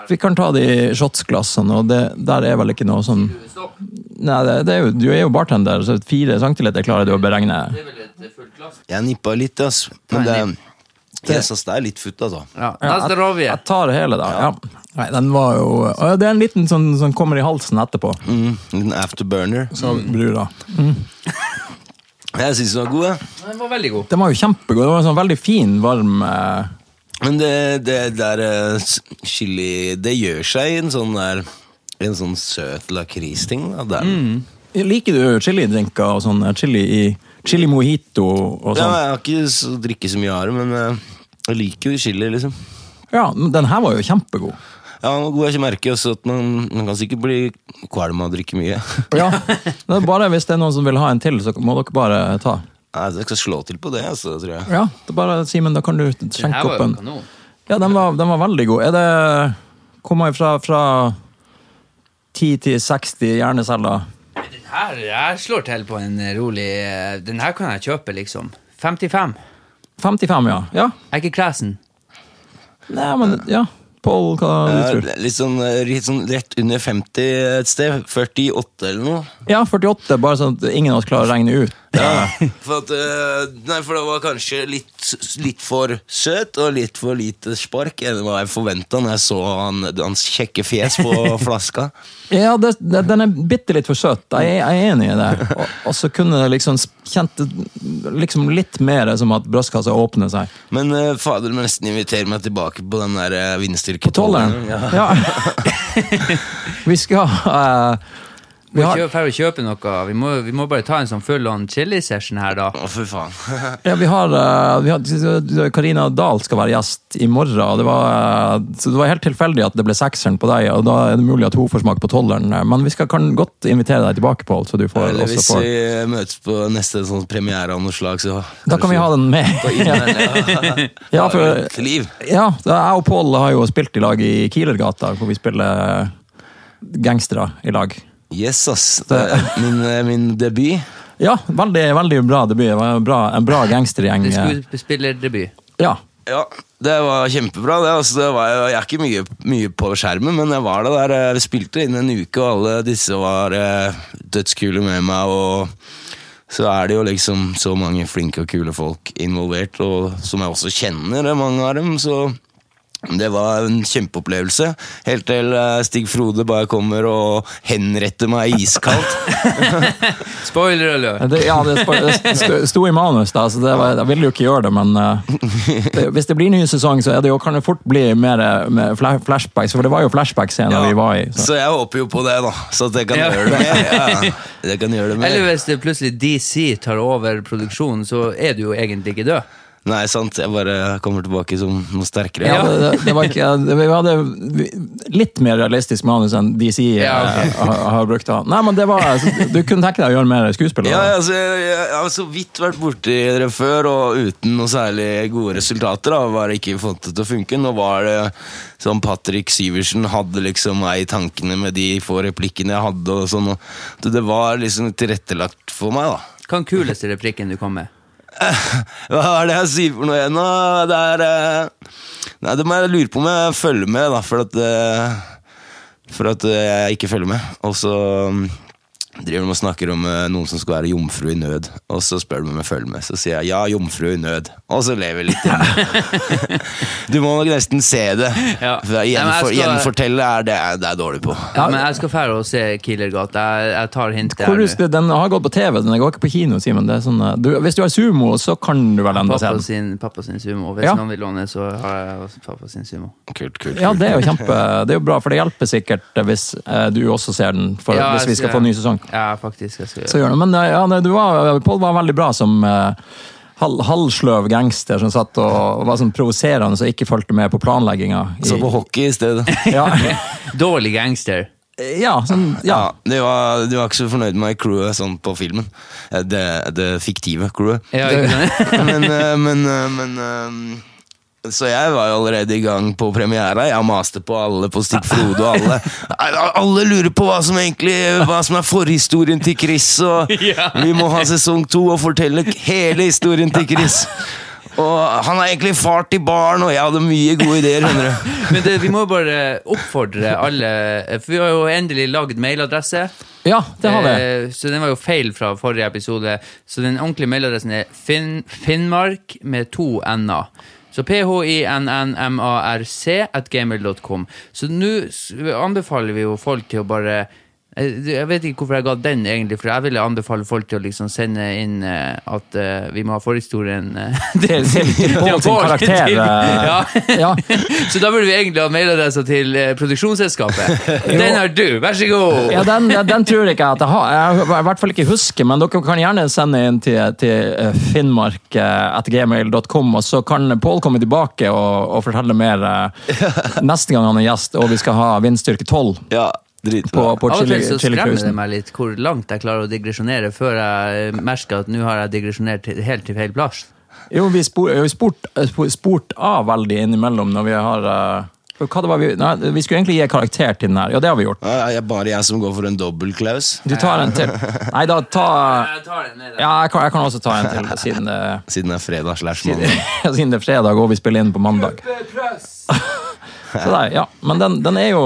Speaker 1: Vi kan ta de shotsglassene, og det, der er vel ikke noe sånn Nei, det, det er jo, Du er jo bartender, så fire centiliter klarer du å beregne.
Speaker 3: eh,
Speaker 2: Jeg nippa litt, ass. Men det, jeg synes det er litt futt, altså.
Speaker 3: Ja, neste rovje.
Speaker 1: Jeg tar hele, da. Ja. Nei, den var jo Å, Det er en liten sånn som kommer i halsen etterpå.
Speaker 2: Mm, en afterburner.
Speaker 1: Så brura.
Speaker 2: Jeg syns den var god, jeg.
Speaker 3: Den var veldig god.
Speaker 1: Den var jo kjempegod. Det var en sånn veldig fin, varm eh,
Speaker 2: Men det, det der eh, s- chili Det gjør seg i en sånn der En sånn søt lakristing. da. Det er-
Speaker 1: Mm. Liker du chilidrinker og sånn eh, chili i Chili mojito og
Speaker 2: Ja,
Speaker 1: sånn?
Speaker 2: jeg har ikke så, drikke så mye av det, men eh, jeg liker jo chili, liksom.
Speaker 1: Ja, men den her var jo kjempegod.
Speaker 2: Ja, man går ikke merke også at man, man kan sikkert bli kvalm av å drikke mye.
Speaker 1: Ja. Det er bare hvis det er noen som vil ha en til, så må dere bare ta.
Speaker 2: Nei, Jeg skal slå til på det, altså, tror jeg.
Speaker 1: Ja, det er bare Simen, da kan du
Speaker 3: Den
Speaker 1: skjenke
Speaker 3: her var
Speaker 1: opp
Speaker 3: jo
Speaker 1: en.
Speaker 3: kanon.
Speaker 1: Ja, den var, den var veldig god. Er det Kommer jeg fra, fra 10 til 60 hjerneceller?
Speaker 3: Den her, jeg slår til på en rolig eh, Den her kan jeg kjøpe, liksom. 55.
Speaker 1: 55, ja. ja.
Speaker 3: Jeg er ikke kresen.
Speaker 1: Nei, men ja. Pål, hva du
Speaker 2: Ja,
Speaker 1: tror du?
Speaker 2: litt, sånn, eh, litt sånn rett under 50 et sted. 48 eller noe.
Speaker 1: Ja, 48, bare sånn at ingen av oss klarer å regne ut.
Speaker 2: For, at, eh, nei, for det var kanskje litt, litt for søt og litt for lite spark enn hva jeg forventa når jeg så han, hans kjekke fjes på flaska.
Speaker 1: Ja, det, det, den er bitte litt for søt. Jeg, jeg er enig i det. Og, og så kunne det liksom sp- kjent det liksom litt mer som at brystkassa åpner seg.
Speaker 2: Men eh, fader må nesten invitere meg tilbake på den der eh, vindstyrke
Speaker 1: Tolleren.
Speaker 2: Ja.
Speaker 1: Ja. vi skal eh,
Speaker 3: Vi
Speaker 1: vi
Speaker 3: må
Speaker 1: har,
Speaker 3: kjøpe, for å kjøpe noe. Vi må, vi må bare ta en sånn full on chili-session her, da.
Speaker 2: Å, fy faen.
Speaker 1: ja, vi har, eh, vi har Karina Dahl skal være gjest i morgen. og Det var, eh, så det var helt tilfeldig at det ble sekseren på deg, og da er det mulig at hun får smak på tolleren. eh, Men vi skal, kan godt invitere deg tilbake, Pål. Så du får
Speaker 2: Eller
Speaker 1: også
Speaker 2: hvis
Speaker 1: får.
Speaker 2: vi eh, møtes på neste sånn premiere av noe slag, så
Speaker 1: Da kan vi ha den med. Ja, for
Speaker 2: Et liv.
Speaker 1: Ja, da- jeg og Pål har jo spilt i lag i Kielergata, hvor vi spiller gangstere i lag.
Speaker 2: Yes, ass. Det er min, eh, min debut.
Speaker 1: Ja, veldig, veldig bra debut. Det var En bra, en bra gangstergjeng.
Speaker 3: Det er
Speaker 1: eh,
Speaker 3: Skuespillerdebut.
Speaker 1: Ja.
Speaker 2: Ja, det var kjempebra. Det, altså, det var, jeg er ikke mye, mye på skjermen, men jeg var det der. eh, Vi spilte inn en uke, og alle disse var eh, dødskule med meg. Og så er det jo liksom så mange flinke og kule folk involvert, og som jeg også kjenner eh, mange av dem. så... Det var en kjempeopplevelse, helt til eh, Stig Frode bare kommer og henretter meg iskaldt.
Speaker 3: Spoiler alert!
Speaker 1: Det, ja, det sp- det sto- sto i manus, da, så det var, jeg ville jo ikke gjøre det, men eh, det, hvis det blir ny sesong, så er det jo, kan det fort bli mer eh, med fla- flashbacks, for det var jo flashback-scener
Speaker 2: Ja,
Speaker 1: vi var i.
Speaker 2: Så
Speaker 1: Så.
Speaker 2: jeg håper jo på det, da. Så at jeg kan
Speaker 3: Ja.
Speaker 2: gjøre det mer. Ja, jeg kan gjøre det mer.
Speaker 3: Eller hvis det plutselig DC tar over produksjonen, så er du jo egentlig ikke død.
Speaker 2: Nei, sant. Jeg bare kommer tilbake som noe sterkere.
Speaker 1: Ja, det, det- det var ikke, det, vi hadde vi- litt mer realistisk manus enn DC eh,
Speaker 3: Ja, ok.
Speaker 1: har, har brukt. Da. Nei, men det var, så, du kunne tenke deg å gjøre mer skuespill? da?
Speaker 2: Ja, altså, jeg, jeg har så vidt vært borti dere før, og uten noe særlig gode resultater. da, Bare ikke fått det til å funke. Nå var det som Patrick Syversen hadde liksom meg i tankene med de få replikkene jeg hadde. og sånn, og det- Det var liksom tilrettelagt for meg, da.
Speaker 3: Hva er den kuleste replikken du kom med?
Speaker 2: Hva er det jeg sier for noe igjen, da? Det er eh, Nei, det må jeg lure på om jeg følger med, da, for at eh, For at eh, jeg ikke følger med. Og så mm, driver de og snakker om eh, noen som skal være jomfru i nød, og så spør de om jeg følger med. Så sier jeg ja, jomfru i nød, og så lever jeg litt. igjen. du må nok nesten se det.
Speaker 3: Ja.
Speaker 2: For jeg
Speaker 3: Nei,
Speaker 2: gjenfor,
Speaker 3: men jeg skal-
Speaker 2: Gjenfortelle er det, det er jeg dårlig på.
Speaker 3: Ja, men jeg skal fære og se Killergata. Jeg, jeg tar hintet
Speaker 1: Hvor
Speaker 3: her
Speaker 1: du
Speaker 3: nå.
Speaker 1: spiller, den har gått på TV, den går ikke på kino, Simen. Det er sånn, eh, du, hvis du har sumo, så kan du vel enda se
Speaker 3: Pappa
Speaker 1: den.
Speaker 3: sin, pappa sin sumo. Hvis
Speaker 1: Ja.
Speaker 3: noen vil låne, så har jeg også pappa sin sumo.
Speaker 2: Kult, kult,
Speaker 1: Ja,
Speaker 2: kult.
Speaker 1: det er jo kjempe, det er jo bra, for det hjelper sikkert eh, hvis eh, du også ser den, for,
Speaker 3: Ja,
Speaker 1: hvis vi
Speaker 3: jeg
Speaker 1: skal
Speaker 3: skal-
Speaker 1: få ny sesong.
Speaker 3: Ja, faktisk. Jeg skal gjøre
Speaker 1: Så gjør det. Men eh, ja, nei, du var, Pål var veldig bra som eh, hal- halvsløv gangster som satt og var sånn provoserende og ikke fulgte med på planlegginga. i-
Speaker 2: Så på hockey i stedet.
Speaker 1: Ja,
Speaker 3: det. Dårlig gangster.
Speaker 1: ja, sånn, ja.
Speaker 2: Ja, de var, de var ikke så fornøyd med crewet sånn på filmen. Eh, Det, det fiktive crewet.
Speaker 3: Ja, ikke sant?
Speaker 2: Men, eh, men, eh, men eh, Så jeg var jo allerede i gang på premiera. Jeg maste på alle, på Stig Frode og alle. Nei, Alle lurer på hva som egentlig Hva som er forhistorien til Chris, og
Speaker 3: Ja.
Speaker 2: vi må ha sesong to og fortelle hele historien til Chris. Og han er egentlig far til barn, og jeg hadde mye gode ideer. skjønner du.
Speaker 3: Men det, vi må bare oppfordre alle For vi har jo endelig lagd mailadresse.
Speaker 1: ja, det har vi.
Speaker 3: Eh, Så den var jo feil fra forrige episode. Så den ordentlige mailadressen er fin, Finnmark med to n-er. Så phinnmarc at gmail.com. Så nå s- anbefaler vi jo folk til å bare eh, jeg vet ikke hvorfor jeg ga den, egentlig, for jeg ville anbefale folk til å liksom sende inn eh, at eh, vi må ha forhistorien eh,
Speaker 1: Til, til, til Pål sin
Speaker 3: Pål,
Speaker 1: karakter.
Speaker 3: til-
Speaker 1: eh,
Speaker 3: ja.
Speaker 1: ja.
Speaker 3: Så da burde vi egentlig ha mailadressa til eh, produksjonsselskapet. Den har du, vær så god!
Speaker 1: Ja, den, den tror jeg ikke at jeg har. Jeg har i hvert fall ikke husker, men dere kan gjerne sende inn til, til eh, finnmark.gmail.com, og så kan Pål komme tilbake og, og fortelle mer eh, neste gang han er gjest, og vi skal ha vindstyrke 12
Speaker 2: Ja, dritbra.
Speaker 1: på, på
Speaker 3: Av og
Speaker 1: chili,
Speaker 3: til så
Speaker 1: chili
Speaker 3: skremmer det meg litt hvor langt jeg klarer å digresjonere før jeg eh, merker at nå har jeg digresjonert til, helt til feil plass.
Speaker 1: Jo, vi spor- vi har spurt, spurt av veldig innimellom når vi har eh, For Hva det var vi, nei, vi skulle egentlig gi karakter til den her. Ja, det har vi gjort.
Speaker 2: Ja, det er bare jeg som går for en dobbel klaus.
Speaker 1: Du tar en til. Nei da, ta
Speaker 3: Jeg tar den ned.
Speaker 1: Ja, jeg kan, jeg kan også ta en til, siden det,
Speaker 2: Siden det er fredag slash mandag.
Speaker 1: siden det er Altså, fredag og vi spiller inn på mandag. Så der, ja. Men den, den er jo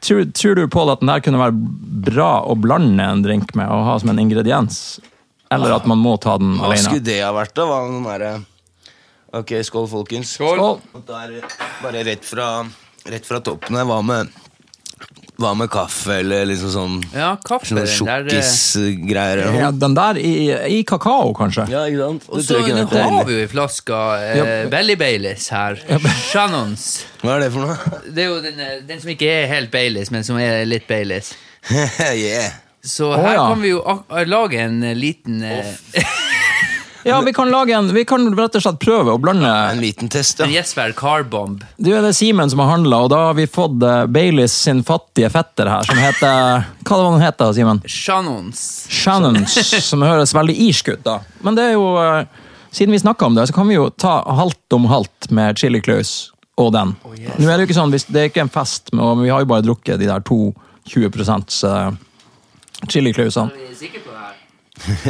Speaker 1: tror, tror du, Pål, at den der kunne være bra å blande en drink med og ha som en ingrediens? Eller at man må ta den
Speaker 2: Hva skulle
Speaker 1: alene?
Speaker 2: det ha vært, da? Hva er den derre- Ok, skål, folkens.
Speaker 1: Skål!
Speaker 2: Og Der, bare rett fra, rett fra toppen her. Hva med, hva med kaffe eller liksom sånn
Speaker 3: Ja, kaffe.
Speaker 2: Sånne
Speaker 3: den der, eh,
Speaker 2: sjokkisgreier? eller noe?
Speaker 1: Ja, den der i, i kakao, kanskje?
Speaker 2: Ja, ikke sant? Det
Speaker 3: Og eh, så
Speaker 2: tror jeg kunne vært
Speaker 3: har
Speaker 2: deilig.
Speaker 3: vi jo i flaska eh, Belly Baileys her. Shannons.
Speaker 2: Hva er det for noe?
Speaker 3: Det er jo den, eh, den som ikke er helt Baileys, men som er litt Baileys.
Speaker 2: yeah.
Speaker 3: Så
Speaker 1: Å,
Speaker 3: her
Speaker 1: ja.
Speaker 3: kan vi jo ak lage en eh, liten eh,
Speaker 1: Ja, vi kan lage en Vi kan rett og slett prøve å blande
Speaker 2: En liten test,
Speaker 3: en
Speaker 2: da.
Speaker 3: Jesper Carbomb.
Speaker 1: Du er det Simen som har handla, og da har vi fått eh, Baileys sin fattige fetter her, som heter Hva var den heter, Simen?
Speaker 3: Shannons.
Speaker 1: Shannon, som høres veldig irsk ut, da. Men det er jo eh, Siden vi snakka om det, så kan vi jo ta halvt om halvt med Chili Claus og den. Nå er det jo ikke sånn, hvis- det er ikke en fest, men og vi har jo bare drukket de der to 20 eh, Chili Clausene.
Speaker 3: Er vi sikre på det her?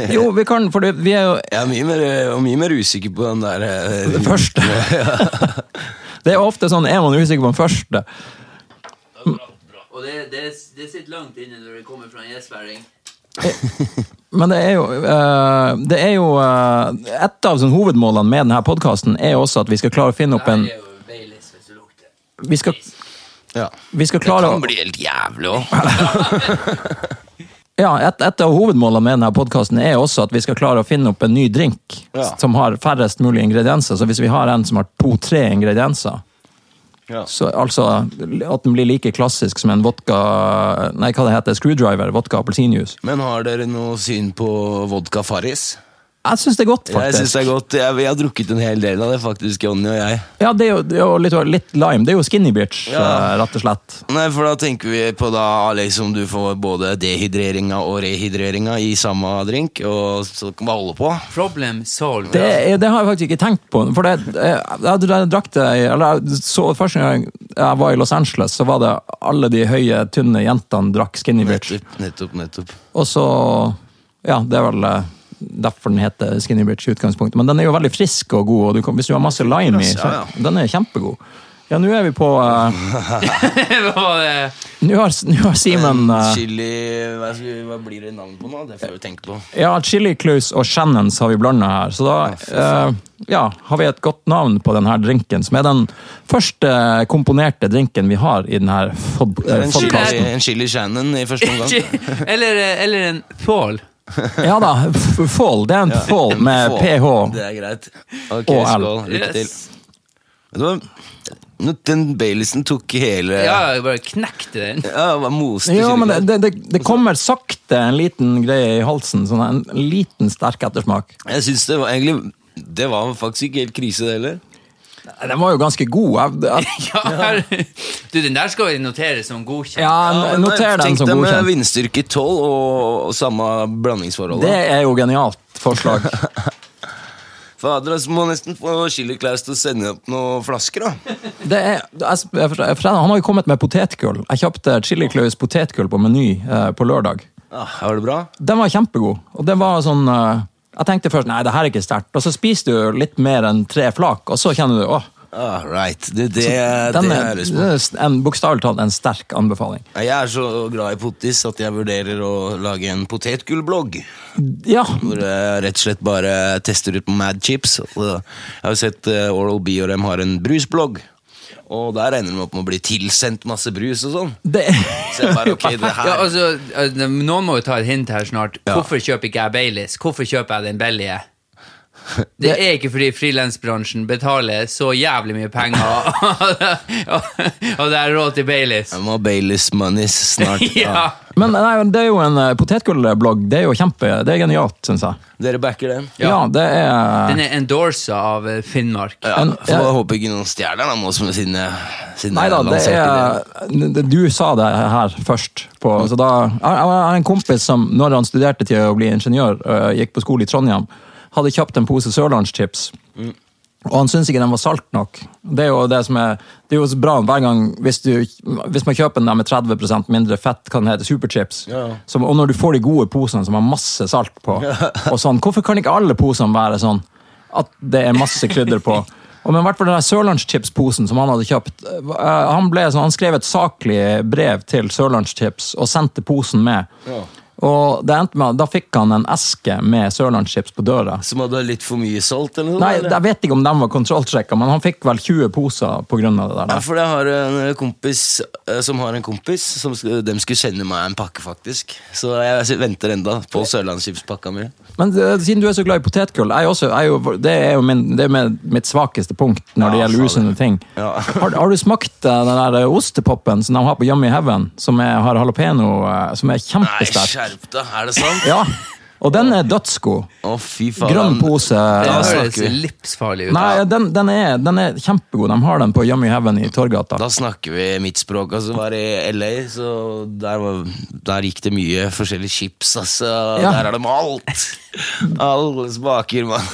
Speaker 1: Jo, vi kan, for det, vi er jo
Speaker 2: Jeg er mye mer, og mye mer usikker på den der eh,
Speaker 1: det første. Det er ofte sånn, er man usikker på den første?
Speaker 3: Og det, sitter langt inne når det kommer fra en gjesværing.
Speaker 1: Men det er jo, eh, det er jo eh, Et av sånn, hovedmålene med denne podkasten er jo også at vi skal klare å finne opp en
Speaker 3: jo Baileys hvis du lukter.
Speaker 1: Vi skal,
Speaker 2: Ja.
Speaker 1: vi skal
Speaker 2: Det
Speaker 1: klare å
Speaker 2: kan bli helt jævlig òg.
Speaker 1: Ja, et, et av hovedmålene med denne podkasten er også at vi skal klare å finne opp en ny drink
Speaker 2: Ja.
Speaker 1: som har færrest mulig ingredienser. Så hvis vi har en som har to-tre ingredienser,
Speaker 2: Ja.
Speaker 1: så altså at den blir like klassisk som en vodka Nei, hva det heter Screwdriver, vodka appelsinjuice.
Speaker 2: Men har dere noe syn på vodka Farris?
Speaker 1: Jeg syns det er godt,
Speaker 2: Jeg syns
Speaker 1: faktisk.
Speaker 2: det er godt. Jeg, vi har drukket en hel del av det, faktisk, Jonny og jeg.
Speaker 1: Ja, det er jo, det er jo litt, litt lime. Det er jo skinny bitch,
Speaker 2: Ja.
Speaker 1: eh, rett og slett.
Speaker 2: Nei, for da tenker vi på da liksom du får både dehydreringa og rehydreringa i samme drink, og så kan man holde på.
Speaker 3: Problem solved.
Speaker 1: Det, er- det har jeg faktisk ikke tenkt på. For det, jeg, jeg, jeg drakk det i- eller jeg så Første gang jeg var i Los Angeles, så var det alle de høye, tynne jentene drakk skinny bitch.
Speaker 2: Nettopp, nettopp. nettopp.
Speaker 1: Og så Ja, det er vel eh, derfor den heter Skinny Bridge i utgangspunktet. Men den er jo veldig frisk og god, og du kan, hvis du har masse lime i, så
Speaker 2: Ja,
Speaker 1: den er kjempegod. Ja, nå er vi på eh,
Speaker 3: Det var, eh,
Speaker 1: Nå har, nå har Simen eh,
Speaker 2: Chili hva, skal vi- hva blir det navn på nå? Det får vi tenke på.
Speaker 1: Ja, Chili Claus og Shannons har vi blanda her, så da eh, ja, har vi et godt navn på denne drinken, som er den første eh, komponerte drinken vi har i denne
Speaker 2: Det er
Speaker 1: eh,
Speaker 2: en chili,
Speaker 1: podkasten.
Speaker 2: en chili Shannon i første omgang.
Speaker 3: ikke- eller, eh, eller en Paul.
Speaker 1: Ja da, f- fall. Det er en fall med
Speaker 2: Få.
Speaker 1: ph.
Speaker 2: Det er greit. Ok,
Speaker 1: Og L.
Speaker 2: skål. Lykke til. Vet du hva? Nå, Den Baileysen tok hele
Speaker 3: Ja, jeg bare knekte den.
Speaker 2: Ja, hva moste
Speaker 1: Ja,
Speaker 2: chili
Speaker 1: men det,
Speaker 2: Claus.
Speaker 1: det, det, det kommer sakte en liten greie i halsen. Sånn en liten sterk ettersmak.
Speaker 2: Jeg syns det var egentlig Det var faktisk ikke helt krise, det heller.
Speaker 1: Den var jo ganske god. Jeg, jeg,
Speaker 3: Ja, her- Du, den der skal vi notere som godkjent.
Speaker 1: ja, n-
Speaker 2: nei,
Speaker 1: noter den som
Speaker 2: eh, Tenk deg med
Speaker 1: godkjent.
Speaker 2: vindstyrke 12 og, og samme blandingsforhold.
Speaker 1: Det
Speaker 2: da.
Speaker 1: er jo genialt forslag.
Speaker 2: Fader, altså, må nesten få Chili Claus til å sende opp noen flasker, da.
Speaker 1: Det er, jeg, jeg, jeg, han har jo kommet med potetgull. Jeg kjøpte Chili Claus potetgull på Meny eh, på lørdag.
Speaker 2: Ah, var det bra?
Speaker 1: Den var kjempegod. Og det var sånn eh, Jeg tenkte først nei, det her er ikke sterkt. Og så spiser du litt mer enn tre flak, og så kjenner du åh,
Speaker 2: Ah, right. Det, det, det
Speaker 1: den
Speaker 2: har
Speaker 1: er,
Speaker 2: jeg lyst på.
Speaker 1: det er en- bokstavelig talt en sterk anbefaling.
Speaker 2: Nei, Jeg er så glad i potis at jeg vurderer å lage en potetgullblogg.
Speaker 1: Ja,
Speaker 2: Hvor jeg rett og slett bare tester ut på Mad Chips. Og Jeg har jo sett eh, Oral B og dem har en brusblogg. Og der ender de opp med å bli tilsendt masse brus og sånn.
Speaker 1: det
Speaker 2: Så jeg bare, ok, det her
Speaker 3: Ja, altså, eh, Noen må jo ta et hint her snart. Hvorfor kjøper ikke jeg Baileys? Hvorfor kjøper jeg den billige? Det er ikke fordi frilansbransjen betaler så jævlig mye penger, og og det er råd til Baileys.
Speaker 2: Jeg må ha Baileys Monies snart.
Speaker 3: Ja.
Speaker 1: Men nei, det er jo en eh, potetgullblogg. Det er jo kjempe, det er genialt, syns jeg.
Speaker 2: Dere backer den?
Speaker 1: Ja, det er
Speaker 3: Den er endorsa av eh, Finnmark.
Speaker 2: Ja,
Speaker 1: En-
Speaker 2: for jeg håper ikke noen stjeler den, må- som- siden jeg siden
Speaker 1: Nei
Speaker 2: jeg
Speaker 1: da, det
Speaker 2: lanserte
Speaker 1: er det- Du sa det her først. På,
Speaker 2: Mm.
Speaker 1: så da, jeg jeg har en kompis som, når han studerte eh, til å bli ingeniør, øh, gikk på skole i Trondheim, hadde kjøpt en pose sørlandschips. Og han syns ikke den var salt nok. Det er jo det som er, det er jo så bra hver gang hvis, du, hvis man kjøper den der med 30 mindre fett, kan den hete superchips.
Speaker 2: Ja.
Speaker 1: Som, og når du får de gode posene som har masse salt på, og sånn, hvorfor kan ikke alle posene være sånn at det er masse krydder på? Og men i hvert fall den der Sørlandschips-posen som han hadde kjøpt eh, Han, ble, sånn- han skrev et saklig brev til Sørlandschips og sendte posen med.
Speaker 2: Ja.
Speaker 1: Og det endte med, at da fikk han en eske med Sørlandschips på døra.
Speaker 2: Som hadde litt for mye salt, eller noe?
Speaker 1: Nei,
Speaker 2: eller?
Speaker 1: jeg vet ikke om de var kontrollsjekka, men han fikk vel 20 poser pga. det
Speaker 2: Ja,
Speaker 1: der.
Speaker 2: for jeg har en kompis eh, som har en kompis som sk- dem skulle sende meg en pakke, faktisk. Så jeg venter enda på sørlandsskipspakka mi.
Speaker 1: Men eh, siden du er så glad i potetgull, jeg også, jeg er jo, det er jo min, det er med, mitt svakeste punkt når det
Speaker 2: Ja,
Speaker 1: gjelder
Speaker 2: faen.
Speaker 1: usunne ting.
Speaker 2: Ja.
Speaker 1: Har, har du smakt eh, den der eh, ostepopen som de har på Yummy Heaven, som er, har jalapeno, eh, som er
Speaker 2: Nei,
Speaker 1: kjempesterk?
Speaker 2: skjerp deg! Er det sant?
Speaker 1: Ja, og den er dødsgod.
Speaker 2: Å, fy faen.
Speaker 1: Grønn pose.
Speaker 3: Det
Speaker 2: Ja,
Speaker 1: eh,
Speaker 2: så-
Speaker 3: høres
Speaker 2: snakker vi.
Speaker 3: livsfarlig ut.
Speaker 1: Nei, den, den, er, den er kjempegod. De har den på Yummy Heaven i Torgata.
Speaker 2: Da snakker vi mitt språk. Altså, var i LA, så der, var, der gikk det mye forskjellige chips, altså.
Speaker 1: Ja.
Speaker 2: Der er det med alt! Alle smaker, mann.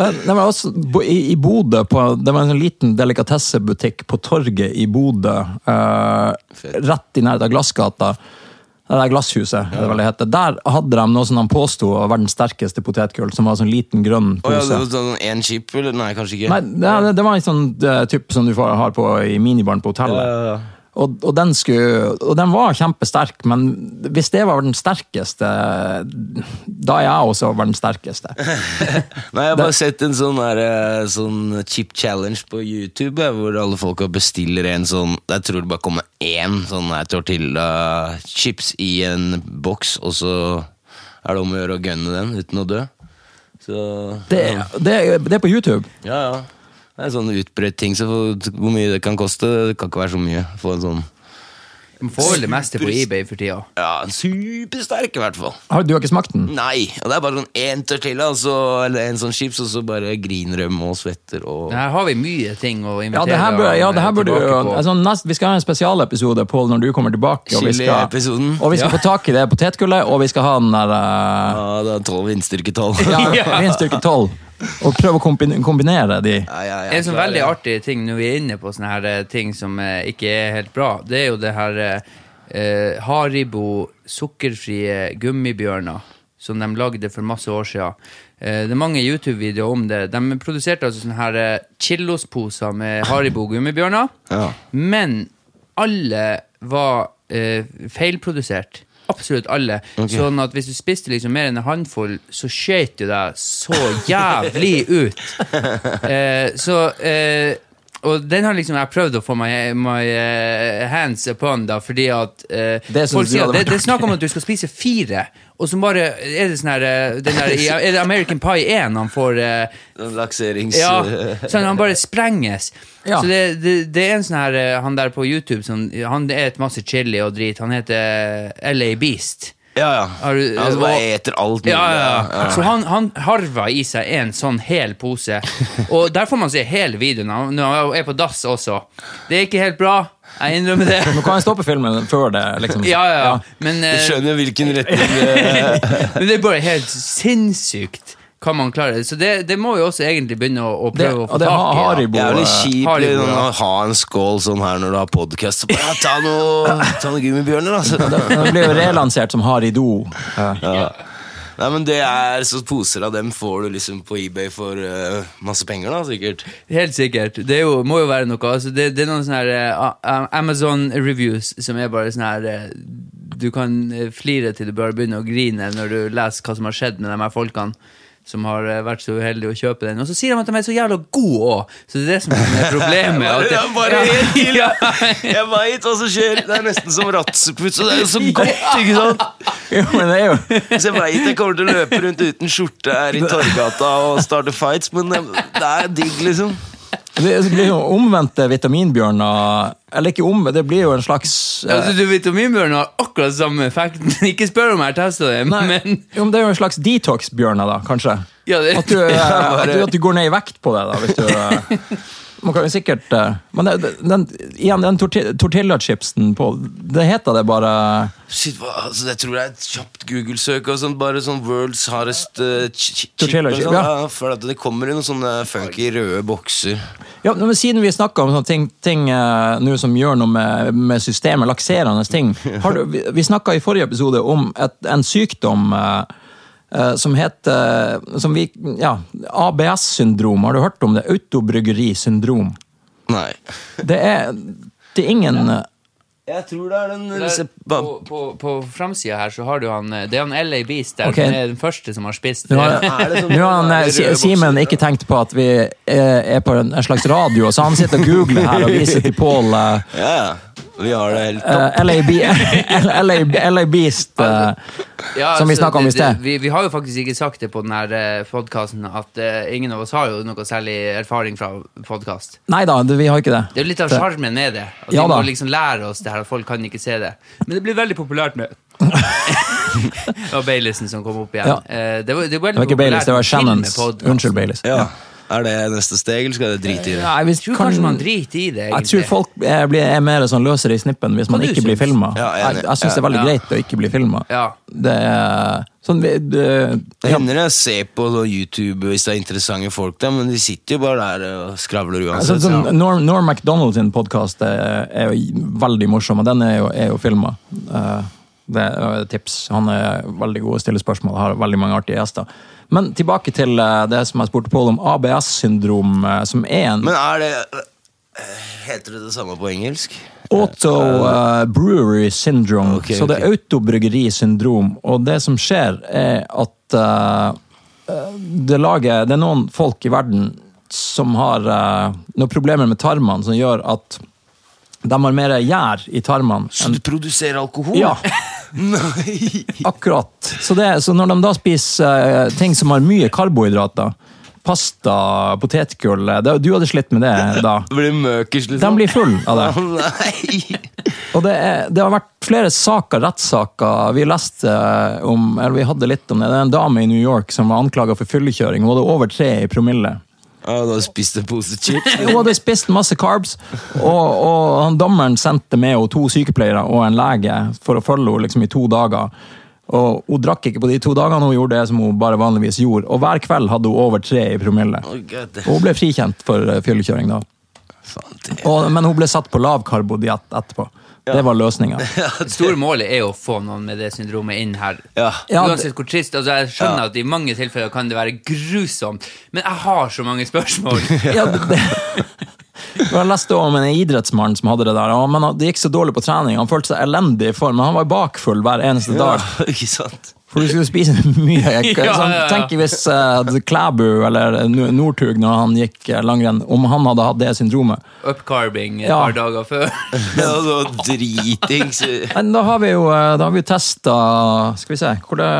Speaker 1: Eh, Det var også bo- i, i Bodø på, Det var en sånn liten delikatessebutikk på torget i Bodø. eh,
Speaker 2: Fett.
Speaker 1: rett i nærheten av Glassgata. Det der glasshuset, er det vel det heter. Der hadde de noe som de påsto var verdens sterkeste potetgull, som var en sånn liten grønn
Speaker 2: Å ja,
Speaker 1: pose.
Speaker 2: det var sånn én chip, eller? Nei, kanskje ikke.
Speaker 1: Nei, det, det var en sånn eh, type som du får, har på i minibaren på hotellet.
Speaker 2: Ja, ja, ja.
Speaker 1: Og, og, den skulle, og den var kjempesterk, men hvis det var den sterkeste, da er jeg også den sterkeste.
Speaker 2: Nei, jeg har bare sett en sånn, der, eh, sånn chip challenge på YouTube, eh, hvor alle folka bestiller en sånn Jeg tror det bare kommer én sånn her tortilla-chips i en boks, og så er det om å gjøre å gunne den uten å dø. Så
Speaker 1: Det, det, det er på YouTube.
Speaker 2: Ja, ja. Det er en sånn utbredt ting, så hvor hvor mye det kan koste, det kan ikke være så mye. Få en sånn
Speaker 3: Man får vel det meste på eBay for tida.
Speaker 2: Ja, en supersterk, i hvert fall.
Speaker 1: Har, du har ikke smakt den?
Speaker 2: Nei! Og det er bare sånn én tortilla, og så- eller en sånn chips, og så bare griner de og svetter og
Speaker 3: Her har vi mye ting å
Speaker 1: Ja,
Speaker 3: invitere
Speaker 1: det her bør, ja,
Speaker 3: han,
Speaker 1: det her
Speaker 3: eh,
Speaker 1: bør du
Speaker 3: tilbake på.
Speaker 1: altså, nest, Vi skal ha en spesialepisode, Pål, når du kommer tilbake. Og vi skal,
Speaker 2: Chili-episoden.
Speaker 1: og vi skal få tak i det potetgullet, og vi skal ha den der eh,
Speaker 2: Ja, det er tolv vindstyrke tolv.
Speaker 1: ja, vinstyrke 12. Og prøve å kombin- kombinere de.
Speaker 3: En sånn veldig artig ting når vi er inne på sånne her eh, ting som eh, ikke er helt bra, det er jo det her eh, eh, Haribo sukkerfrie gummibjørner som de lagde for masse år siden. Eh, det er mange YouTube-videoer om det. De produserte altså sånne her eh, Chillos-poser med Haribo gummibjørner,
Speaker 2: Ja.
Speaker 3: men alle var eh, feilprodusert. Absolutt alle. Sånn at hvis du spiste liksom mer enn en håndfull, så skjøt du deg så jævlig ut. Eh, så eh, Og den har liksom jeg prøvd å få my, my eh, hands upon, da, fordi at eh,
Speaker 1: Det synes
Speaker 3: Folk
Speaker 1: du
Speaker 3: sier
Speaker 1: hadde
Speaker 3: at det,
Speaker 1: vært
Speaker 3: det er snakk om at du skal spise fire, og så bare er det sånn her eh, den her, i- Er det American Pie 1 han får eh,
Speaker 2: Lakserings...
Speaker 3: ja, sånn, han bare sprenges.
Speaker 1: Ja.
Speaker 3: Så det, det, det er en sånn her eh, Han der på YouTube som Han et masse chili og drit. Han heter LA Beast.
Speaker 2: ja. ja.
Speaker 3: Har du-
Speaker 2: ja som bare eter alt mulig.
Speaker 3: Ja, ja, ja. Så han, han harva i seg en sånn hel pose. Og der får man se hele videoen. Han når han er på dass også. Det er ikke helt bra. Jeg innrømmer det.
Speaker 1: Nå kan jeg stoppe filmen før det, liksom.
Speaker 3: Ja, ja, ja. Men,
Speaker 2: Du
Speaker 3: eh,
Speaker 2: skjønner hvilken retning eh,
Speaker 3: men det er bare helt sinnssykt hva man klarer. Så det, det må vi også egentlig begynne å, å
Speaker 1: Det,
Speaker 3: prøve å
Speaker 1: og
Speaker 3: få
Speaker 1: det har
Speaker 3: tak i.
Speaker 1: Haribo.
Speaker 2: Det er
Speaker 1: eh,
Speaker 2: veldig kjipt
Speaker 3: Haribo,
Speaker 2: liksom,
Speaker 3: ja.
Speaker 2: å ha en skål sånn her når du har podkast. Ja, ta noe, ta noe gummibjørner, altså.
Speaker 1: Den ble jo relansert som Harido. eh.
Speaker 2: Ja. Nei, men det er så Poser av dem får du liksom på eBay for eh, masse penger, da, sikkert.
Speaker 3: Ja. Helt sikkert. Det er jo, må jo være noe. Altså, det, det er noen sånne her, eh, Amazon reviews som er bare sånn her eh, Du kan eh, flire til du bare begynner å grine når du leser hva som har skjedd med de her folkene som har eh, vært så uheldige å kjøpe den. Og så sier de at de er så jævla gode òg! Så det er det som er problemet. at det-
Speaker 2: Ja, bare helt til.
Speaker 3: Ja.
Speaker 2: Jeg veit hva som skjer! Det er nesten som ratseputz, og det er jo så godt, ikke sant?
Speaker 1: Jo, men det er jo
Speaker 2: Så jeg veit jeg kommer til å løpe rundt uten skjorte her i Torgata og starte fights, men det det er digg, liksom.
Speaker 1: Det blir jo omvendte vitaminbjørner. Eller ikke om, det blir jo en slags eh,
Speaker 3: Altså, du Vitaminbjørn har akkurat samme effekten. Ikke spør om jeg har testa det,
Speaker 1: Nei,
Speaker 3: men
Speaker 1: jo, men det er jo en slags detox-bjørner, da, kanskje.
Speaker 3: ja, det,
Speaker 1: At du, eh,
Speaker 2: Ja, bare-
Speaker 1: at, du, at du går ned i vekt på det, da, hvis du eh, Man kan jo sikkert eh, Men det- det- den, igjen, den torti- tortillachipsen på Det heter det bare
Speaker 2: Shit, hva, altså, jeg tror det er et kjapt Google-søk. og sånn, Bare sånn world's hardest uh, ch ch chip.
Speaker 1: Tortilla
Speaker 2: eller
Speaker 1: chip,
Speaker 2: sånn,
Speaker 1: ja.
Speaker 2: ja, for at det kommer i noen sånne funky røde bokser.
Speaker 1: Ja, men Siden vi snakker om sånne ting, ting eh, nå som gjør noe med, med systemet, lakserende ting har du, Vi, vi snakka i forrige episode om et, en sykdom eh, eh, som heter som vi, ja, ABS-syndrom. Har du hørt om det? Autobryggerisyndrom.
Speaker 2: Nei.
Speaker 1: Det er, det er ingen
Speaker 2: Jeg tror det er den
Speaker 3: Der, på på, på framsida her så har du han eh, Det er han L.A. Beast der.
Speaker 1: Ok.
Speaker 3: Han er den første som har spist.
Speaker 1: Nå
Speaker 3: eh,
Speaker 1: har, nå har han, eh, Si- Simen ikke tenkt på at vi er, er på en, en slags radio, så han sitter og googler her og viser til Pål eh,
Speaker 2: Ja, ja. Vi har det helt topp.
Speaker 1: eh, LAB, LA Beast. eh,
Speaker 3: Ja,
Speaker 1: Som vi
Speaker 3: altså,
Speaker 1: snakket om i
Speaker 3: det- det-
Speaker 1: sted.
Speaker 3: Vi, vi har jo faktisk ikke sagt det på denne podkasten at eh, ingen av oss har jo noe særlig erfaring fra podkast.
Speaker 1: Nei da, det- vi har ikke det.
Speaker 3: Det er jo litt av sjarmen med det. At
Speaker 1: Ja
Speaker 3: vi må
Speaker 1: da.
Speaker 3: liksom lære oss det her, at folk kan ikke se det. Men det blir veldig populært med Det var Baileysen som kom opp igjen.
Speaker 1: Ja.
Speaker 3: Eh, Det var, det var,
Speaker 1: Det var ikke Baileys, det var Shannons. Unnskyld, Baileys.
Speaker 2: Ja. Er det neste steg, eller skal jeg drite i det?
Speaker 1: Nei, hvis
Speaker 3: Jeg tror
Speaker 1: kan-
Speaker 3: kanskje man driter i det,
Speaker 1: jeg tror folk er, blir, er mer sånn løsere i snippen hvis man
Speaker 3: du
Speaker 1: ikke blir
Speaker 3: synes?
Speaker 1: filma.
Speaker 2: Ja, jeg er enig.
Speaker 1: jeg jeg syns det er veldig
Speaker 3: Ja.
Speaker 1: greit å ikke bli filma.
Speaker 3: Ja.
Speaker 1: Det er sånn vi- det,
Speaker 2: Det
Speaker 1: ja,
Speaker 2: hender jeg ser på sånn YouTube hvis det er interessante folk der, men de sitter jo bare der og skravler
Speaker 1: altså,
Speaker 2: uansett.
Speaker 1: sånn,
Speaker 2: så-
Speaker 1: Norm, Norm MacDonald sin podkast er, er jo veldig morsom, og den er jo, er jo filma. Eh, Det er et tips. Han er veldig god å stille spørsmål, har veldig mange artige gjester. Men tilbake til eh, det som jeg spurte Pål om, ABS-syndrom, eh, som er en
Speaker 2: Men er det eh, Heter det det samme på engelsk?
Speaker 1: Auto eh, brewery syndrome.
Speaker 2: Ok,
Speaker 1: så det
Speaker 2: ok.
Speaker 1: er autobryggerisyndrom. Og det som skjer, er at eh, eh, det, lager, det er noen folk i verden som har eh, noen problemer med tarmene som gjør at de har mer gjær i tarmene.
Speaker 2: Så du produserer alkohol?
Speaker 1: Ja,
Speaker 2: Nei!
Speaker 1: akkurat. Så, det, så når de da spiser eh, ting som har mye karbohydrater, pasta, potetgull eh, det- Du hadde slitt med det da.
Speaker 2: Blir møkers, liksom?
Speaker 1: De blir full av det.
Speaker 2: Å, Nei!
Speaker 1: Og det, er, det har vært flere saker, rettssaker. Vi leste eh, om, eller vi hadde litt om det. Det er en dame i New York som var anklaga for fyllekjøring. Hun hadde over tre i promille.
Speaker 2: Ja, da spiste jeg pose chips.
Speaker 1: Hun hadde spist masse carbs, og, og han dommeren sendte med henne to sykepleiere og en lege for å følge henne liksom, i to dager. Og Hun drakk ikke på de to dagene, hun gjorde det som hun bare vanligvis gjorde. Og hver kveld hadde hun over tre i promille.
Speaker 2: Å, god, det-
Speaker 1: Og hun ble frikjent for eh, fyllekjøring da.
Speaker 2: Faen, det-
Speaker 1: Og, men hun ble satt på lavkarbodiett etterpå. Det var løsninga.
Speaker 3: Det store målet er jo å få noen med det syndromet inn her.
Speaker 2: Ja.
Speaker 1: Ja, det-
Speaker 3: Uansett hvor trist. Altså, jeg skjønner
Speaker 2: Ja.
Speaker 3: at i mange tilfeller kan det være grusomt, men jeg har så mange spørsmål.
Speaker 1: ja, det, det. Jeg leste om en idrettsmann som hadde det der. og men han- Det gikk så dårlig på trening. Han følte seg elendig i form. men Han var bakfull hver eneste
Speaker 2: Ja,
Speaker 1: dag.
Speaker 2: ikke sant?
Speaker 1: For du skulle spise mye. Jeg,
Speaker 3: Ja,
Speaker 1: sånn,
Speaker 3: ja, ja.
Speaker 1: Tenk hvis eh, Klæbu eller N- Northug, når han gikk eh, langrenn, om han hadde hatt det syndromet.
Speaker 3: Upcarbing et
Speaker 1: Ja.
Speaker 3: par dager før.
Speaker 2: Ja, det var dritings.
Speaker 1: Men da har vi jo eh, da har vi jo testa Skal vi se hvor det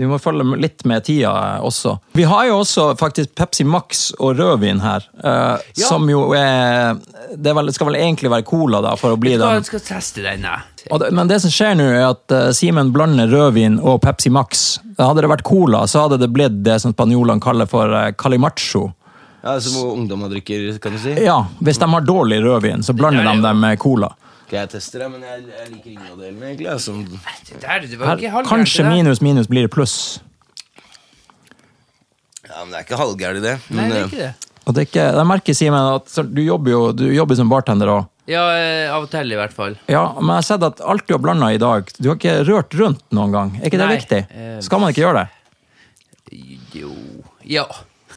Speaker 1: Vi må følge litt med tida eh, også. Vi har jo også faktisk Pepsi Max og rødvin her, eh,
Speaker 3: Ja.
Speaker 1: som jo er Det er vel, skal vel egentlig være cola, da, for å bli den
Speaker 3: Jeg skal teste denne.
Speaker 1: Og det, men det som skjer nå, er at eh, Simen blander rødvin og Pepsi Max. Hadde det vært cola, så hadde det blitt det som spanjolene kaller for eh, calimacho.
Speaker 2: Ja, Som ungdommer drikker, kan du si.
Speaker 1: Ja, Hvis de har dårlig rødvin, så blander
Speaker 3: Ja, ja.
Speaker 1: de det med cola.
Speaker 2: Ok, jeg tester det, men jeg, jeg liker ingen av delene, egentlig. Altså.
Speaker 3: Det der, det var
Speaker 1: Her,
Speaker 3: ikke halvgærent,
Speaker 1: kanskje
Speaker 3: det der.
Speaker 1: minus minus blir pluss.
Speaker 2: Ja, men Det er ikke halvgærent, det.
Speaker 3: Nei,
Speaker 2: Men,
Speaker 3: det
Speaker 2: eh,
Speaker 3: er ikke det.
Speaker 1: Og det er ikke, jeg merker, Simen, at så- du jobber jo du jobber som bartender òg.
Speaker 3: Ja, eh, av og til i hvert fall.
Speaker 1: Ja, men jeg har sett at alt du har blanda i dag, du har ikke rørt rundt noen gang. Er ikke det
Speaker 3: Nei,
Speaker 1: viktig?
Speaker 3: eh,
Speaker 1: Skal man ikke gjøre det?
Speaker 3: Jo Ja.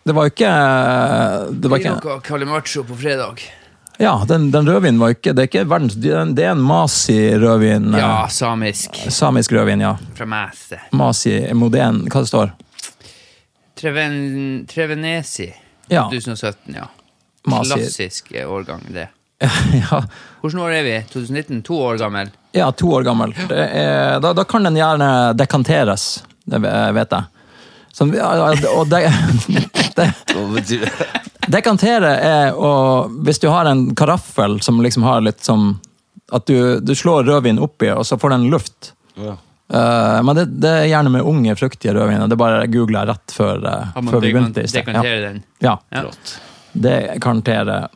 Speaker 1: Det var jo ikke Det var
Speaker 3: Blir
Speaker 1: ikke
Speaker 3: noe Calimacho på fredag.
Speaker 1: Ja, den, den rødvinen var jo ikke Det er ikke verdens Det er en- det er en Masi-rødvin. eh,
Speaker 3: Ja, samisk.
Speaker 1: Samisk rødvin, ja.
Speaker 3: Fra Mæse.
Speaker 1: Masi Moden, hva det står?
Speaker 3: Treven, Trevenesi.
Speaker 1: Ja.
Speaker 3: 2017, ja.
Speaker 1: Masi.
Speaker 3: Klassisk eh, årgang, det.
Speaker 1: ja,
Speaker 3: Hvordan år er vi? 2019? To år gammel.
Speaker 1: ja, to år gammel. Det er, da, da kan den gjerne dekanteres, det ve- vet jeg. Som, ja, ja, og de, de,
Speaker 2: hva betyr det?
Speaker 1: dekantere er å Hvis du har en karaffel som liksom har litt som At du, du slår rødvin oppi, og så får den luft.
Speaker 2: Ja.
Speaker 1: Eh, men det, det er gjerne med unge, fruktige rødviner. Det bare googla jeg rett før, eh,
Speaker 3: Har man
Speaker 1: før vi
Speaker 3: dekan-
Speaker 1: begynte. i sted.
Speaker 3: dekantere den?
Speaker 1: Ja. ja.
Speaker 3: Ja.
Speaker 1: Det kan tere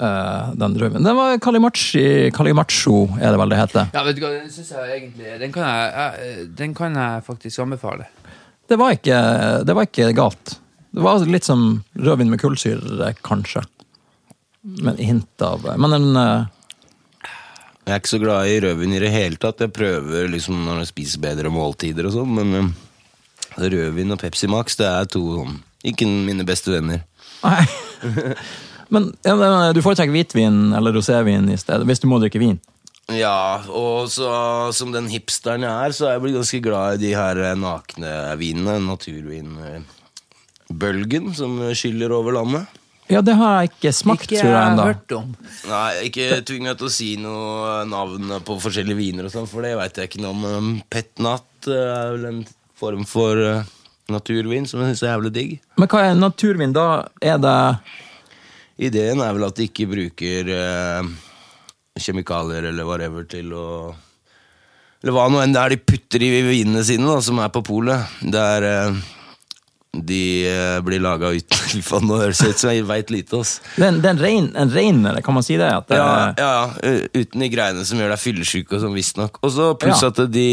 Speaker 1: eh, den drømmen. Den var Kalimachi, Kalimacho, er det vel det heter.
Speaker 3: Ja, vet du hva, den synes jeg egentlig Den kan jeg, jeg, den kan jeg faktisk anbefale.
Speaker 1: Det var ikke, det var ikke galt. Det var litt som rødvin med kullsyre, kanskje. Men hint av Men en eh,
Speaker 2: Jeg er ikke så glad i rødvin i det hele tatt. Jeg prøver liksom når jeg spiser bedre måltider og sånn, men um, rødvin og Pepsi Max det er to sånn Ikke mine beste venner.
Speaker 1: Nei. Men ja, men eh, du foretrekker hvitvin eller rosévin i stedet, hvis du må drikke vin.
Speaker 2: Ja, og så som den hipsteren jeg er, så er jeg blitt ganske glad i de her eh, nakne vinene. Naturvinbølgen som skyller over landet.
Speaker 1: Ja, det har jeg ikke smakt,
Speaker 3: Ikke
Speaker 1: tror jeg
Speaker 3: jeg
Speaker 1: enda.
Speaker 3: hørt om.
Speaker 2: Nei, ikke tving meg til å si noe navn på forskjellige viner og sånn, for det veit jeg ikke noe om. Um, Pet Nat eh, er vel en form for eh, naturvin som jeg syns er jævlig digg.
Speaker 1: Men hva er naturvin? Da er det
Speaker 2: Ideen er vel at de ikke bruker eh, kjemikalier eller whatever til å Eller hva nå enn det er de putter i vinene sine, da, som er på polet. Der eh, de eh, blir laga uten Faen, nå høres det ut som jeg veit lite, ass.
Speaker 1: det er en, det er en, rein, en reinere, kan man si det? At eh, det
Speaker 2: Ja, ja, ja, u- uten de greiene som gjør deg fyllesyk og sånn, visstnok. Og så pluss
Speaker 1: Ja.
Speaker 2: at de,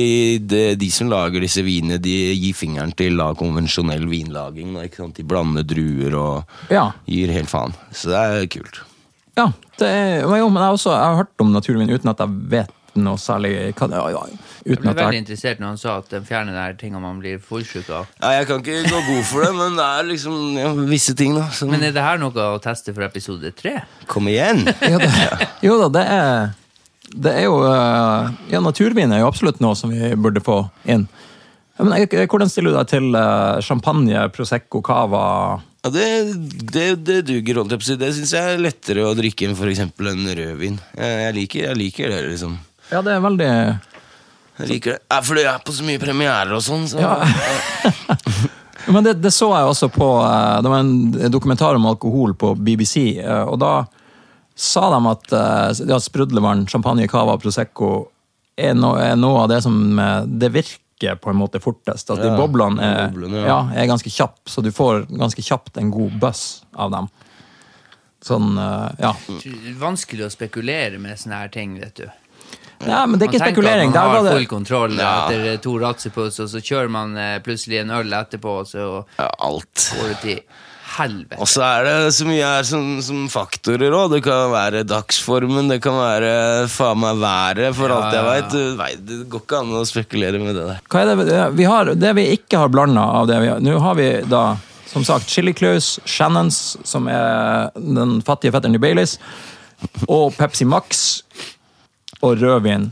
Speaker 2: de, de som lager disse vinene, de gir fingeren til da, konvensjonell vinlaging. Da, ikke sant? De blander druer og
Speaker 1: Ja.
Speaker 2: gir helt faen. Så det er kult.
Speaker 1: ja det er, men jo, men jeg, har også, jeg har hørt om naturvin uten at jeg vet noe særlig hva det ja, ja,
Speaker 3: Jeg
Speaker 1: Uten
Speaker 3: ble
Speaker 1: at
Speaker 3: veldig
Speaker 1: jeg
Speaker 3: interessert når han sa at den fjerner de her tingene man blir fullsjuk av.
Speaker 2: Nei, jeg kan ikke gå god for det, men det er liksom ja, visse ting, da. Som
Speaker 3: Men er det her noe å teste for episode tre?
Speaker 2: Kom igjen!
Speaker 1: ja, det, Jo da, det er det er jo eh, Ja, naturvin er jo absolutt noe som vi burde få inn. Ja, Men eh, hvordan stiller du deg til eh, champagne, prosecco, cava?
Speaker 2: Ja, det, det, det duger, holdt jeg på å si. Det syns jeg er lettere å drikke enn for eksempel en rødvin. Jeg, jeg, liker, jeg liker det, liksom.
Speaker 1: Ja, det er veldig
Speaker 2: Jeg liker det. Ja, fordi jeg er på så mye premierer og sånn. Så.
Speaker 1: Ja. Men det, det så jeg også på eh, Det var en dokumentar om alkohol på BBC, eh, og da sa de at eh, ja, sprudlevann, champagne, cava og prosecco er, no, er noe av det som eh, Det virker på en måte fortest. At de
Speaker 2: Ja,
Speaker 1: boblene er,
Speaker 2: boblene, ja.
Speaker 1: ja, er ganske kjappe, så du får ganske kjapt en god buzz av dem. Sånn, eh, ja.
Speaker 3: Mm. Vanskelig å spekulere med sånne her ting, vet du.
Speaker 1: ja. Men det er ikke
Speaker 3: Man tenker
Speaker 1: spekulering.
Speaker 3: at Man
Speaker 1: Der
Speaker 3: har
Speaker 1: var
Speaker 3: full
Speaker 1: det
Speaker 3: kontroll
Speaker 2: Ja.
Speaker 3: etter eh, to ratsepuls, og så kjører man eh, plutselig en øl etterpå, og så
Speaker 2: Ja, alt.
Speaker 3: går det til helvete.
Speaker 2: Og så er det så mye her som, som faktorer òg. Det kan være dagsformen, det kan være faen meg været, for alt jeg veit. Du veit- Det går ikke an å spekulere med det der.
Speaker 1: Hva er det, vi har, det vi ikke har blanda av det vi har Nå har vi da som sagt Chili Claus, Shannons, som er den fattige fetteren til Baileys, og Pepsi Max og rødvin.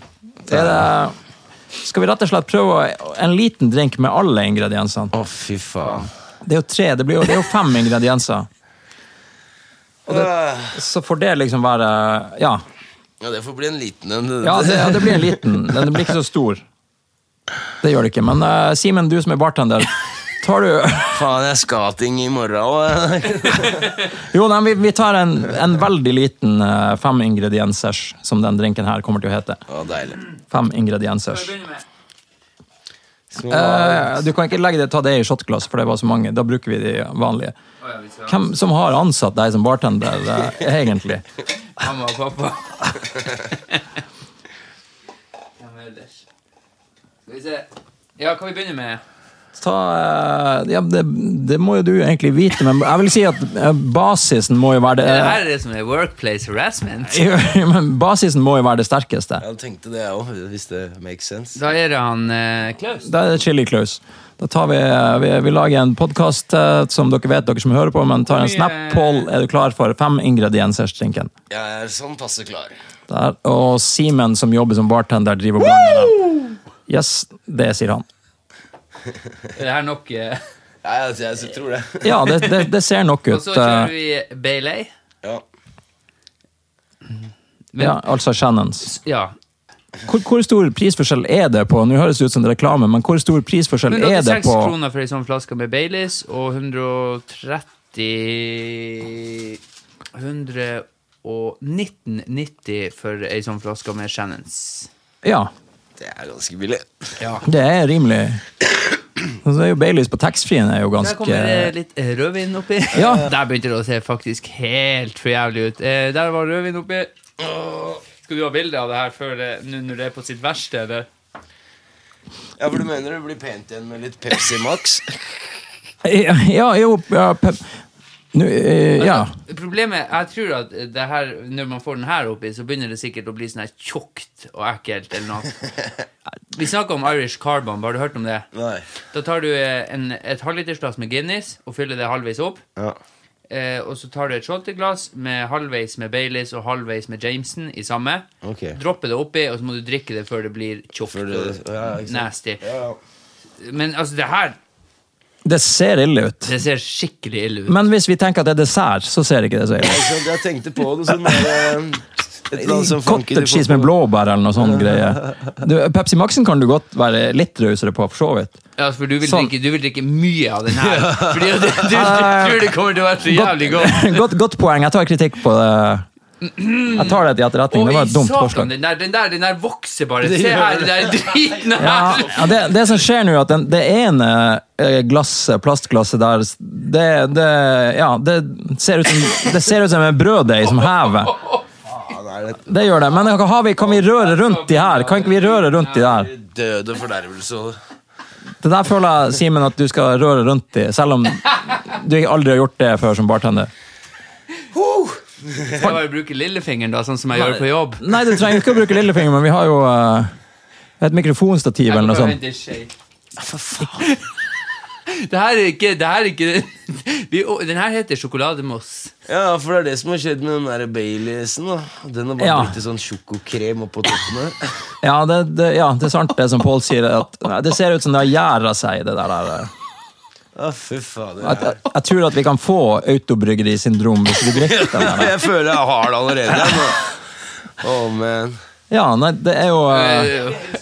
Speaker 1: Er det, skal vi rett og slett prøve en liten drink med alle ingrediensene?
Speaker 2: Å, fy faen.
Speaker 1: Det er jo tre, det, blir jo, det er jo fem ingredienser. Så får det liksom være Ja,
Speaker 2: Ja, det får bli en liten en.
Speaker 1: ja, det, ja, det blir en liten. Den blir ikke så stor. Det gjør det ikke. Men eh, Simen, du som er bartender, tar du
Speaker 2: Faen, jeg skal ting i morgen òg.
Speaker 1: Jo, nei, vi, vi tar en, en veldig liten eh, fem ingrediensers, som den drinken her kommer til å hete.
Speaker 2: Å, deilig.
Speaker 1: Fem ingrediensers.
Speaker 2: Så,
Speaker 1: Eh, du kan ikke legge det, ta det i shotglass, for det var så mange. Da bruker vi de vanlige. Hvem som har ansatt deg som bartender, eh, egentlig?
Speaker 3: Mamma og pappa. Hvem ellers? Skal vi se. Ja, kan vi begynne med?
Speaker 1: Ta, eh, ja, det, det må jo du egentlig vite, men jeg vil si at eh, basisen må jo være det
Speaker 3: Det her er det som er workplace harassment.
Speaker 1: Jo, men basisen må jo være det sterkeste.
Speaker 2: jeg tenkte det, jeg òg, hvis det makes sense.
Speaker 3: Da er det han eh, Klaus.
Speaker 1: Da er det Chili Claus. Da tar vi, vi, vi lager en podkast som dere vet, dere som hører på, men tar en
Speaker 3: Mye-
Speaker 1: snap poll. Er du klar for fem ingredienser til drinken?
Speaker 2: Jeg er sånn passe klar.
Speaker 1: Der. Og Simen, som jobber som bartender, driver og blander dem. Yes, det sier han.
Speaker 3: Er det her nok? eh?
Speaker 2: Ja, jeg, jeg, tror det.
Speaker 1: Ja, det, det, det ser nok
Speaker 3: Og
Speaker 1: ut.
Speaker 3: så
Speaker 1: eh,
Speaker 3: kjører vi Bailey.
Speaker 2: Ja.
Speaker 1: Ja, altså Shannons.
Speaker 3: Ja.
Speaker 1: Hvor, hvor stor prisforskjell er det på Nå høres det ut som en reklame, men hvor stor prisforskjell er det
Speaker 3: 186
Speaker 1: på
Speaker 3: kroner for ei sånn flaske med Baileys, og 130 119,90 for ei sånn flaske med Shannons.
Speaker 1: Ja,
Speaker 2: Det er ganske billig.
Speaker 1: Altså, det er rimelig. Og så er jo Baileys på taxfree-en er jo
Speaker 3: Der kommer det
Speaker 1: ganske
Speaker 3: litt eh, rødvin oppi.
Speaker 1: Ja.
Speaker 3: Der begynte det å se faktisk helt for jævlig ut. Eh, Der var rødvin oppi. Åh. Skal du ha bilde av det her før det, nå når det er på sitt verste, eller?
Speaker 2: Ja, for du mener det blir pent igjen med litt Pepsi Max?
Speaker 1: Ja, jo ja, pe- Nå, eh, Ja.
Speaker 3: Problemet Jeg tror at det her, når man får den her oppi, så begynner det sikkert å bli sånn her tjukt og ekkelt eller noe. Vi snakker om Irish Carbon, har du hørt om det?
Speaker 2: Nei.
Speaker 3: Da tar du eh, en, et halvlitersglass med Guinness og fyller det halvveis opp.
Speaker 2: Ja.
Speaker 3: Eh, og så tar du et shotteglass med halvveis med Baileys og halvveis med Jameson i samme.
Speaker 2: Ok.
Speaker 3: Dropper det oppi, og så må du drikke det før det blir tjukt
Speaker 2: Før det- ja,
Speaker 3: og
Speaker 2: ikke sant.
Speaker 3: nasty.
Speaker 2: Ja,
Speaker 3: Men altså, det her
Speaker 1: Det ser ille ut.
Speaker 3: det ser skikkelig ille ut.
Speaker 1: Men hvis vi tenker at det er dessert, så ser ikke det så ille ut.
Speaker 2: Ikke sant, jeg tenkte på det sånn der, eh, Et eller annet som fanker
Speaker 1: Cottage cheese med blåbær eller noe sånn greie. Du, Pepsi Maxen kan du godt være litt rausere på, for så vidt.
Speaker 3: Ja, for du vil,
Speaker 1: Sånn.
Speaker 3: drikke, du vil drikke mye av den her. Fordi du, du, du tror det kommer til å være så jævlig godt.
Speaker 1: godt, godt poeng. Jeg tar kritikk på det. Jeg tar det til etterretning.
Speaker 3: Og
Speaker 1: Det
Speaker 3: i
Speaker 1: var et dumt
Speaker 3: satan,
Speaker 1: forslag.
Speaker 3: den der, den der, den der vokser bare.
Speaker 2: Det
Speaker 3: Se
Speaker 2: gjør
Speaker 3: her,
Speaker 2: det.
Speaker 3: den der driten
Speaker 1: Ja,
Speaker 3: her.
Speaker 1: ja, det, det som skjer nå, er at den, det ene eh, glasset, plastglasset der, det, det, ja, det, ser ut som, det ser ut som en brøddeig som hever.
Speaker 2: Faen, er det
Speaker 1: Det gjør det. Men har vi, kan vi røre rundt de her? Kan ikke vi røre rundt de der?
Speaker 2: død og fordervelse og
Speaker 1: Det der føler jeg, Simen, at du skal røre rundt i, selv om du ikke aldri har gjort det før som bartender.
Speaker 3: Jeg bare bruker lillefingeren, da, sånn som jeg gjør på jobb.
Speaker 1: Nei, du trenger ikke å bruke lillefinger, men vi har jo eh, et mikrofonstativ eller noe sånt.
Speaker 3: Det her er ikke, det her er ikke vi, å, Den her heter sjokolademousse.
Speaker 2: Ja, for det er det som har skjedd med den der Baileysen. da. Den har bare
Speaker 1: Ja.
Speaker 2: blitt til sånn sjokokrem oppå toppen her.
Speaker 1: Ja det, det, ja, det er sant det som Pål sier, at nei, det ser ut som det har gjæra seg, det der. eh.
Speaker 2: Å, fy faen.
Speaker 1: At,
Speaker 2: Jeg,
Speaker 1: jeg tror at vi kan få autobryggerisyndrom hvis vi drikker den der.
Speaker 2: jeg føler jeg har det allerede. jeg, nå. Å, man.
Speaker 1: Ja, nei, det er jo eh,
Speaker 3: Jeg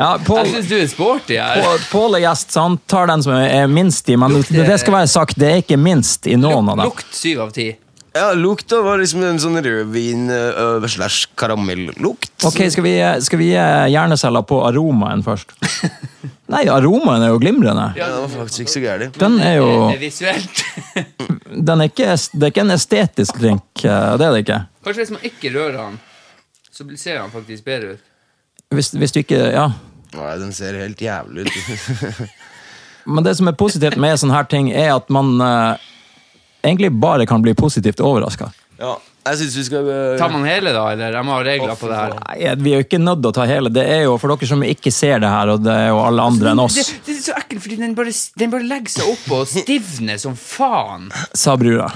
Speaker 1: Ja, Pål
Speaker 3: syns du er sporty her.
Speaker 1: Pål- Pål er gjest, så han tar den som er er minst i, men det, det skal være sagt, det er ikke minst i noen av dem.
Speaker 3: Lukt syv av ti.
Speaker 2: Ja, lukta var liksom en sånn rødvin øh, slash karamellukt.
Speaker 1: Ok, skal vi, skal vi eh, hjerneceller på aromaen først? Nei, aromaen er jo glimrende.
Speaker 2: Ja, det var faktisk ikke så gæren.
Speaker 1: Den er jo
Speaker 3: Det er Eh, visuelt.
Speaker 1: den er ikke, est- Det er ikke en estetisk drink, eh, det er det ikke.
Speaker 3: Kanskje hvis man ikke rører han, så blir- ser han faktisk bedre ut.
Speaker 1: Hvis, hvis du ikke Ja.
Speaker 2: Nei, den ser helt jævlig ut.
Speaker 1: Men det som er positivt med sånne her ting, er at man eh, egentlig bare kan bli positivt overraska.
Speaker 2: ja, jeg syns vi skal øh,
Speaker 3: Tar man hele, da? Eller? Jeg må ha regler på det her.
Speaker 1: Nei, vi er jo ikke nødt til å ta hele. Det er jo for dere som ikke ser det her, og det er jo alle andre enn oss,
Speaker 3: Det, det er så ekkelt, fordi den bare, den bare legger seg opp og stivner som faen.
Speaker 1: sa brura.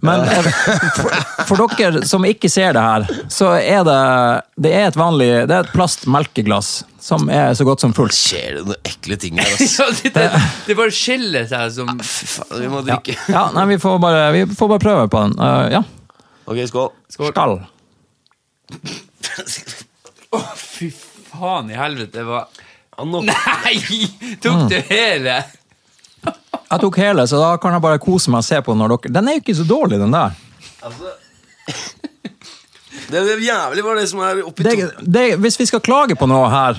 Speaker 1: Men eh, for, for dere som ikke ser det her, så er det Det er et vanlig Det er et plastmelkeglass som er så godt som fullt.
Speaker 2: Skjer det noen ekle ting her, ass?
Speaker 3: Ja, det, det, det bare skiller seg som
Speaker 2: Fy faen, vi må
Speaker 1: Ja,
Speaker 2: drikke.
Speaker 1: ja nei, vi får bare, vi får bare prøve på den. Eh, ja.
Speaker 2: Ok, skål.
Speaker 3: Skål.
Speaker 1: Skall.
Speaker 3: Å, fy faen i helvete. Det var
Speaker 2: Ja, nå-
Speaker 3: Nei! Tok du hele?
Speaker 1: Jeg tok hele, så da kan jeg bare kose meg og se på når dere Den er jo ikke så dårlig, den der.
Speaker 2: Altså Det er jævlig var det som er oppi
Speaker 1: det, det, hvis vi skal klage på noe her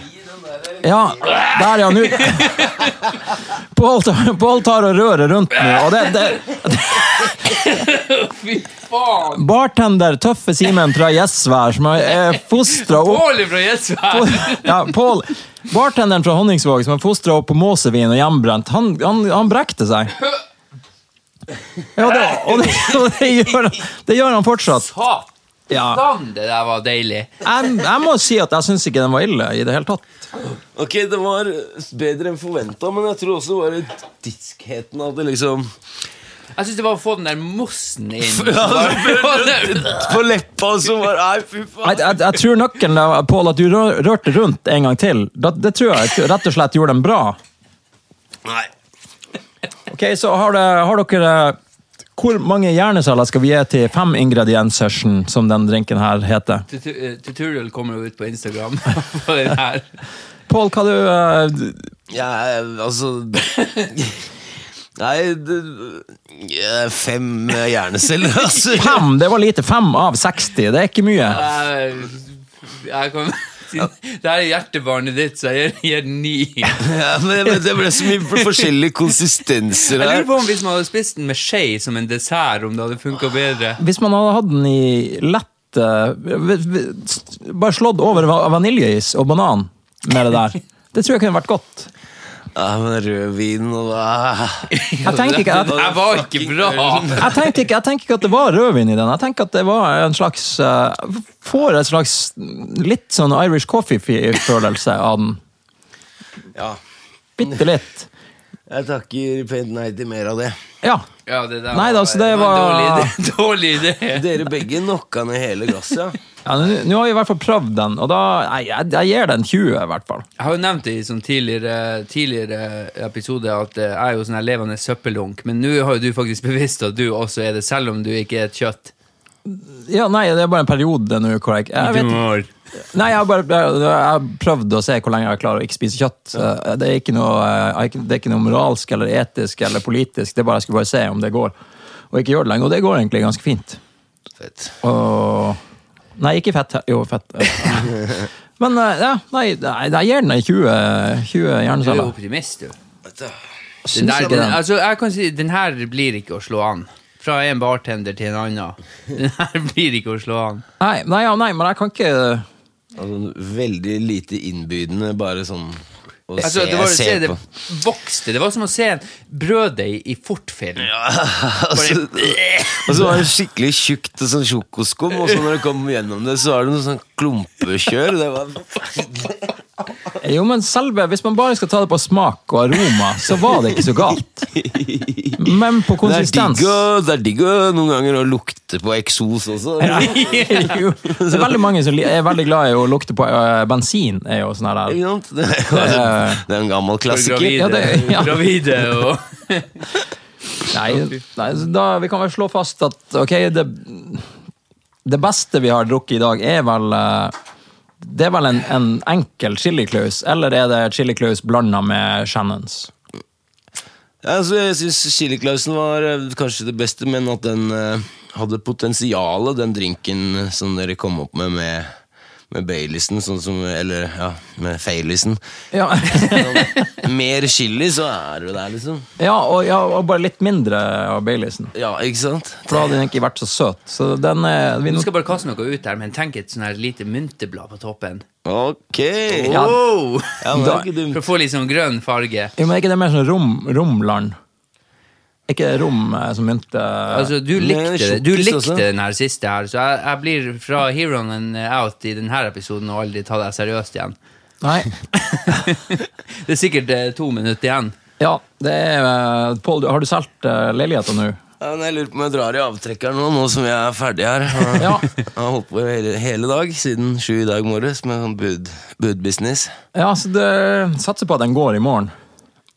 Speaker 1: Ja, der ja, nå Pål tar- Pål tar og rører rundt nå, og det, det
Speaker 3: Fy faen!
Speaker 1: Bartender Tøffe Simen fra Gjesvær, som er fostra opp
Speaker 3: Bålet fra Gjesvær!
Speaker 1: ja, Pål, bartenderen fra Honningsvåg som er fostra opp på måsevin og hjemmebrent, han, han, han brekte seg. Ja, det, og det, og det, gjør, han- det gjør han fortsatt. Ja.
Speaker 3: Satan, det der var deilig.
Speaker 1: Jeg, jeg må si at jeg syns ikke den var ille i det hele tatt.
Speaker 2: Ok, det var bedre enn forventa, men jeg tror også bare diskheten av det liksom
Speaker 3: Jeg syns det var å få den der mossen inn.
Speaker 2: På leppa og så bare Nei, fy faen.
Speaker 1: Jeg, jeg, jeg tror nøkkelen der, Pål, at du rør, rørte rundt en gang til. Det, det tror jeg rett og slett gjorde dem bra.
Speaker 2: Nei.
Speaker 1: Ok, så har, det, har dere Hvor mange hjerneceller skal vi gi til fem ingredienssession, som den drinken her heter?
Speaker 3: Tutu- eh, Tutorial kommer jo ut på Instagram. På den her.
Speaker 1: Pål, hva du eh,
Speaker 2: Jeg altså Nei, det, jeg er fem hjerneceller, altså.
Speaker 1: Fem! Det var lite. Fem av 60. Det er ikke mye.
Speaker 3: Eh, Jeg, jeg kan Det her er hjertebarnet ditt, så jeg gir- gir den ni. Jeg
Speaker 2: Ja, men, men det ble så mye for- forskjellige konsistenser
Speaker 3: lurer
Speaker 2: her.
Speaker 3: på om hvis man hadde spist den med skje som en dessert, om det hadde funka bedre.
Speaker 1: Hvis man hadde hatt den i lett eh, v- v- s- Bare slått over va- vaniljeis og banan med det der. Det tror jeg kunne vært godt.
Speaker 2: Ja, men rødvin og hva
Speaker 1: Jeg tenkte ikke,
Speaker 3: Det
Speaker 1: jeg,
Speaker 3: her var ikke bra!
Speaker 1: jeg tenkte ikke, jeg tenker ikke at det var rødvin i den. Jeg tenker at det var en slags eh, Får en slags litt sånn Irish coffee-følelse av den.
Speaker 2: Ja,
Speaker 1: Bitte litt.
Speaker 2: jeg takker pent nei til mer av det.
Speaker 1: Ja.
Speaker 3: Ja, det der
Speaker 1: Nei, da, så det
Speaker 3: en
Speaker 1: var-
Speaker 3: dårlig idé. Dårlig idé.
Speaker 2: Dere begge knocka ned hele glasset.
Speaker 1: ja Nå nå har vi i hvert fall prøvd den, og da Nei, jeg, jeg gir den 20, i hvert fall.
Speaker 3: Jeg har jo nevnt det i sånn tidligere, tidligere episode at eh, jeg er jo sånn her levende søppeldunk, men nå har jo du faktisk bevist at du også er det, selv om du ikke er et kjøtt.
Speaker 1: Ja, nei, det er bare en periode nå hvor jeg Jeg vet
Speaker 3: år.
Speaker 1: Nei, jeg har bare jeg, jeg har prøvd å se hvor lenge jeg klarer å ikke spise kjøtt. Eh, Det er ikke noe, eh, jeg- det er ikke noe moralsk eller etisk eller politisk. Det er bare, jeg skulle bare se om det går. Og ikke gjør det lenge. Og det går egentlig ganske fint.
Speaker 2: Fett.
Speaker 1: Og Nei, ikke fett. Jo, fett. Men eh, ja, nei, nei, jeg gir den ei 20, 20
Speaker 3: Du er jo
Speaker 1: hjerneceller.
Speaker 3: optimist, du.
Speaker 2: Vet du.
Speaker 3: Den,
Speaker 1: Syns
Speaker 3: der,
Speaker 1: ikke
Speaker 3: den,
Speaker 1: den.
Speaker 3: altså, jeg kan si, den her blir ikke å slå an. Fra en bartender til en annen. Den her blir ikke å slå an.
Speaker 1: Nei, nei, ja, nei, men jeg kan ikke
Speaker 2: Altså, veldig lite innbydende, bare sånn å se,
Speaker 3: Altså, det var,
Speaker 2: se
Speaker 3: se, det
Speaker 2: på.
Speaker 3: vokste. Det var som å se en brøddeig i fortfilm.
Speaker 2: Altså, og så var det skikkelig tjukt og sånn sjokoskum, og så når du kom gjennom det, så var det noe sånn klumpekjør. Det var
Speaker 1: Jo, men selve, hvis man bare skal ta det på smak og aroma, så var det ikke så galt. Men på
Speaker 2: Det er,
Speaker 1: konsistens
Speaker 2: digg å, det er digg å noen ganger å lukte på eksos også.
Speaker 1: Jo, det er veldig mange som li- er veldig glad i å lukte på øh, bensin. er jo sånn her der.
Speaker 2: Ikke sant? Det er jo en- det er en gammel
Speaker 3: For
Speaker 2: klassiker.
Speaker 3: gravide,
Speaker 1: Ja, det- ja.
Speaker 3: gravide og
Speaker 1: Nei, nei, så da, vi kan vel slå fast at ok, det, det beste vi har drukket i dag, er vel øh, Det er vel en, en enkel chiliklaus, eller er det chiliklaus blanda med Shannons?
Speaker 2: Ja, altså, jeg syns chiliklausen var eh, kanskje det beste, men at den eh, hadde potensialet, den drinken eh, som dere kom opp med med, med Baileysen, sånn som Eller ja, med Faileysen. Sånn,
Speaker 1: Ja,
Speaker 2: Mer chili, så er du der, liksom.
Speaker 1: ja, og, ja og bare litt mindre av Baileysen.
Speaker 2: Ja, ikke sant?
Speaker 1: For da hadde den ikke vært så søt. Så den er, vi,
Speaker 3: Du skal bare kaste noe ut der, men tenk et sånn her lite mynteblad på toppen.
Speaker 2: Ok! Ja,
Speaker 1: Ja.
Speaker 3: Wow!
Speaker 2: men det er ikke
Speaker 3: For
Speaker 2: dumt.
Speaker 3: å få litt sånn grønn farge.
Speaker 1: jo, men er ikke det mer sånn rom, romland? Ikke rom eh, som mynte
Speaker 3: Altså, du
Speaker 2: Men
Speaker 3: likte, det. du
Speaker 2: tjukkis
Speaker 3: likte
Speaker 2: også.
Speaker 3: den her siste her, så jeg, jeg blir fra heroen and out i denne episoden og aldri ta deg seriøst igjen.
Speaker 1: Nei.
Speaker 3: Det er sikkert eh, to minutter igjen.
Speaker 1: Ja, det er eh, Pål, du- har du solgt uh, leiligheta nå?
Speaker 2: Ja, men jeg lurer på om jeg drar i avtrekkeren nå, nå som jeg er ferdig her.
Speaker 1: Ja.
Speaker 2: Jeg har holdt på hele, hele dag, siden sju i dag morges, med sånn bud, budbusiness.
Speaker 1: Ja, så det satser på at den går i morgen.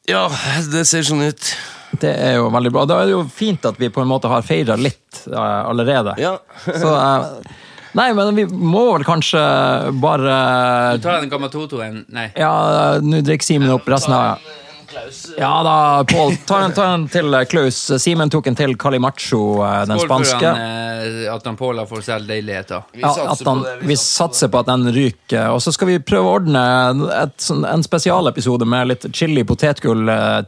Speaker 2: Ja, det ser sånn ut.
Speaker 1: Det er jo veldig bra. Da er det jo fint at vi på en måte har feira litt eh, allerede.
Speaker 2: Ja.
Speaker 1: Så eh, Nei, men vi må vel kanskje bare
Speaker 3: Du tar den gamma Totoen Nei.
Speaker 1: Ja, nå drikker Simen opp resten av Ja da, Pål. Ta en, ta en til eh, Klaus. Simen tok en til Calimacho, eh, den
Speaker 3: Skål
Speaker 1: spanske.
Speaker 3: for han, eh, at han Paula får selge leiligheter.
Speaker 2: Vi
Speaker 1: Ja,
Speaker 2: satser
Speaker 1: at han,
Speaker 2: på det, vi
Speaker 1: vi satser på at den ryker. Og så skal vi prøve å ordne et, sånn- en spesialepisode med litt chili potetgull-tema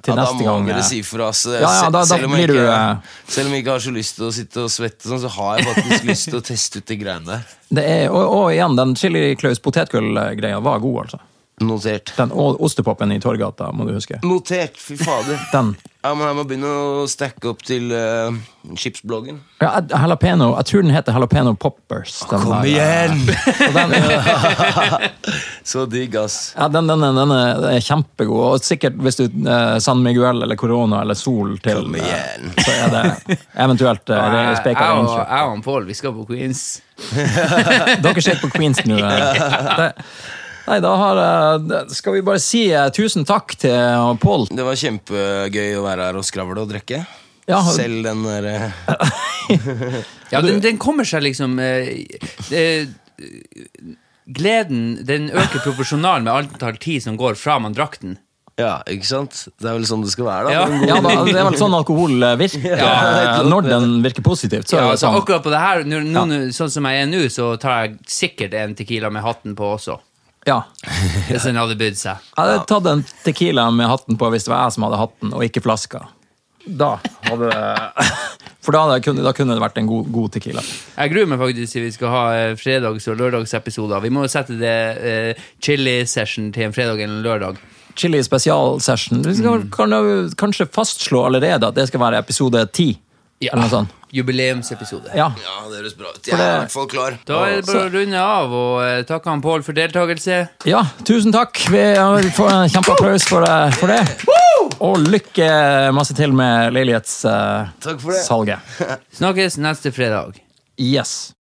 Speaker 1: til neste
Speaker 2: Da
Speaker 1: gang. eh.
Speaker 2: må dere si fra. Så
Speaker 1: Ja, ja, da- da
Speaker 2: selv, om jeg
Speaker 1: blir du,
Speaker 2: ikke,
Speaker 1: eh,
Speaker 2: selv om jeg ikke har så lyst til å sitte og svette, sånn, så har jeg faktisk lyst til å teste ut de greiene der.
Speaker 1: Det er, og, og igjen, den chili-klaus-potetgull-greia var god, altså.
Speaker 2: Notert.
Speaker 1: Den og ostepopen i Torgata, må du huske.
Speaker 2: Notert, fy fader.
Speaker 1: Den.
Speaker 2: Ja, men Jeg må begynne å stacke opp til eh, chipsbloggen.
Speaker 1: Ja, jalapeno, jeg tror den heter Jalapeno Poppers. Den der, eh, og Den,
Speaker 2: Så digg, ass.
Speaker 1: ja, den, den, den, den er den er kjempegod, og sikkert hvis du eh, San Miguel eller Corona eller Sol til
Speaker 2: Kom
Speaker 1: eh,
Speaker 2: igjen.
Speaker 1: Så er det eventuelt eh,
Speaker 3: Jeg jeg
Speaker 1: spekere
Speaker 3: og
Speaker 1: innkjøp.
Speaker 3: jeg og han Pål, vi skal på Queens.
Speaker 1: Dere ser på Queens nå. eh. Det- Nei, da har, eh, det- skal vi bare si eh, tusen takk til eh, Pål.
Speaker 2: Det var kjempegøy å være her og skravle og drikke.
Speaker 1: Ja, har-
Speaker 2: Selv den der eh,
Speaker 3: Ja, den, den kommer seg liksom eh, eh, Gleden den øker proporsjonal med antall tid som går fra man drakk den.
Speaker 2: Ja, ikke sant? Det er vel sånn det skal være, da.
Speaker 3: Ja.
Speaker 2: Men-
Speaker 1: Ja, da, det er vel sånn alkohol eh, virker.
Speaker 2: Ja.
Speaker 1: Eh, Når den virker positivt, så er
Speaker 3: Ja,
Speaker 1: det
Speaker 3: altså,
Speaker 1: sånn.
Speaker 3: akkurat på det her, nå, nå, nå- sånn som jeg er nå, så tar jeg sikkert en tequila med hatten på også.
Speaker 1: Ja.
Speaker 3: Hvis den hadde bydd seg.
Speaker 1: Jeg hadde tatt en tequila med hatten på hvis det var jeg som hadde hatten, og ikke flaska. Da hadde det For da, hadde jeg kunnet, da kunne det vært en god, god tequila.
Speaker 3: Jeg gruer meg faktisk til vi skal ha eh, fredags- og lørdagsepisoder. Vi må jo sette det eh, chili-session til en fredag eller en lørdag.
Speaker 1: Chili spesialsession. Vi skal kan jo kanskje fastslå allerede at det skal være episode ti. Eller noe sånt.
Speaker 3: Ah, Jubileumsepisode.
Speaker 1: Ja.
Speaker 2: ja, det høres bra ut. Jeg er i hvert fall klar.
Speaker 3: Da er det bare å runde av og eh, takke han Pål for deltakelse.
Speaker 1: ja, tusen takk. Vi ja, vi får en kjempeapplaus for, eh, for det. Og lykke masse til med eh,
Speaker 2: Takk for det.
Speaker 1: leilighetssalget.
Speaker 3: Snakkes neste fredag.
Speaker 1: yes.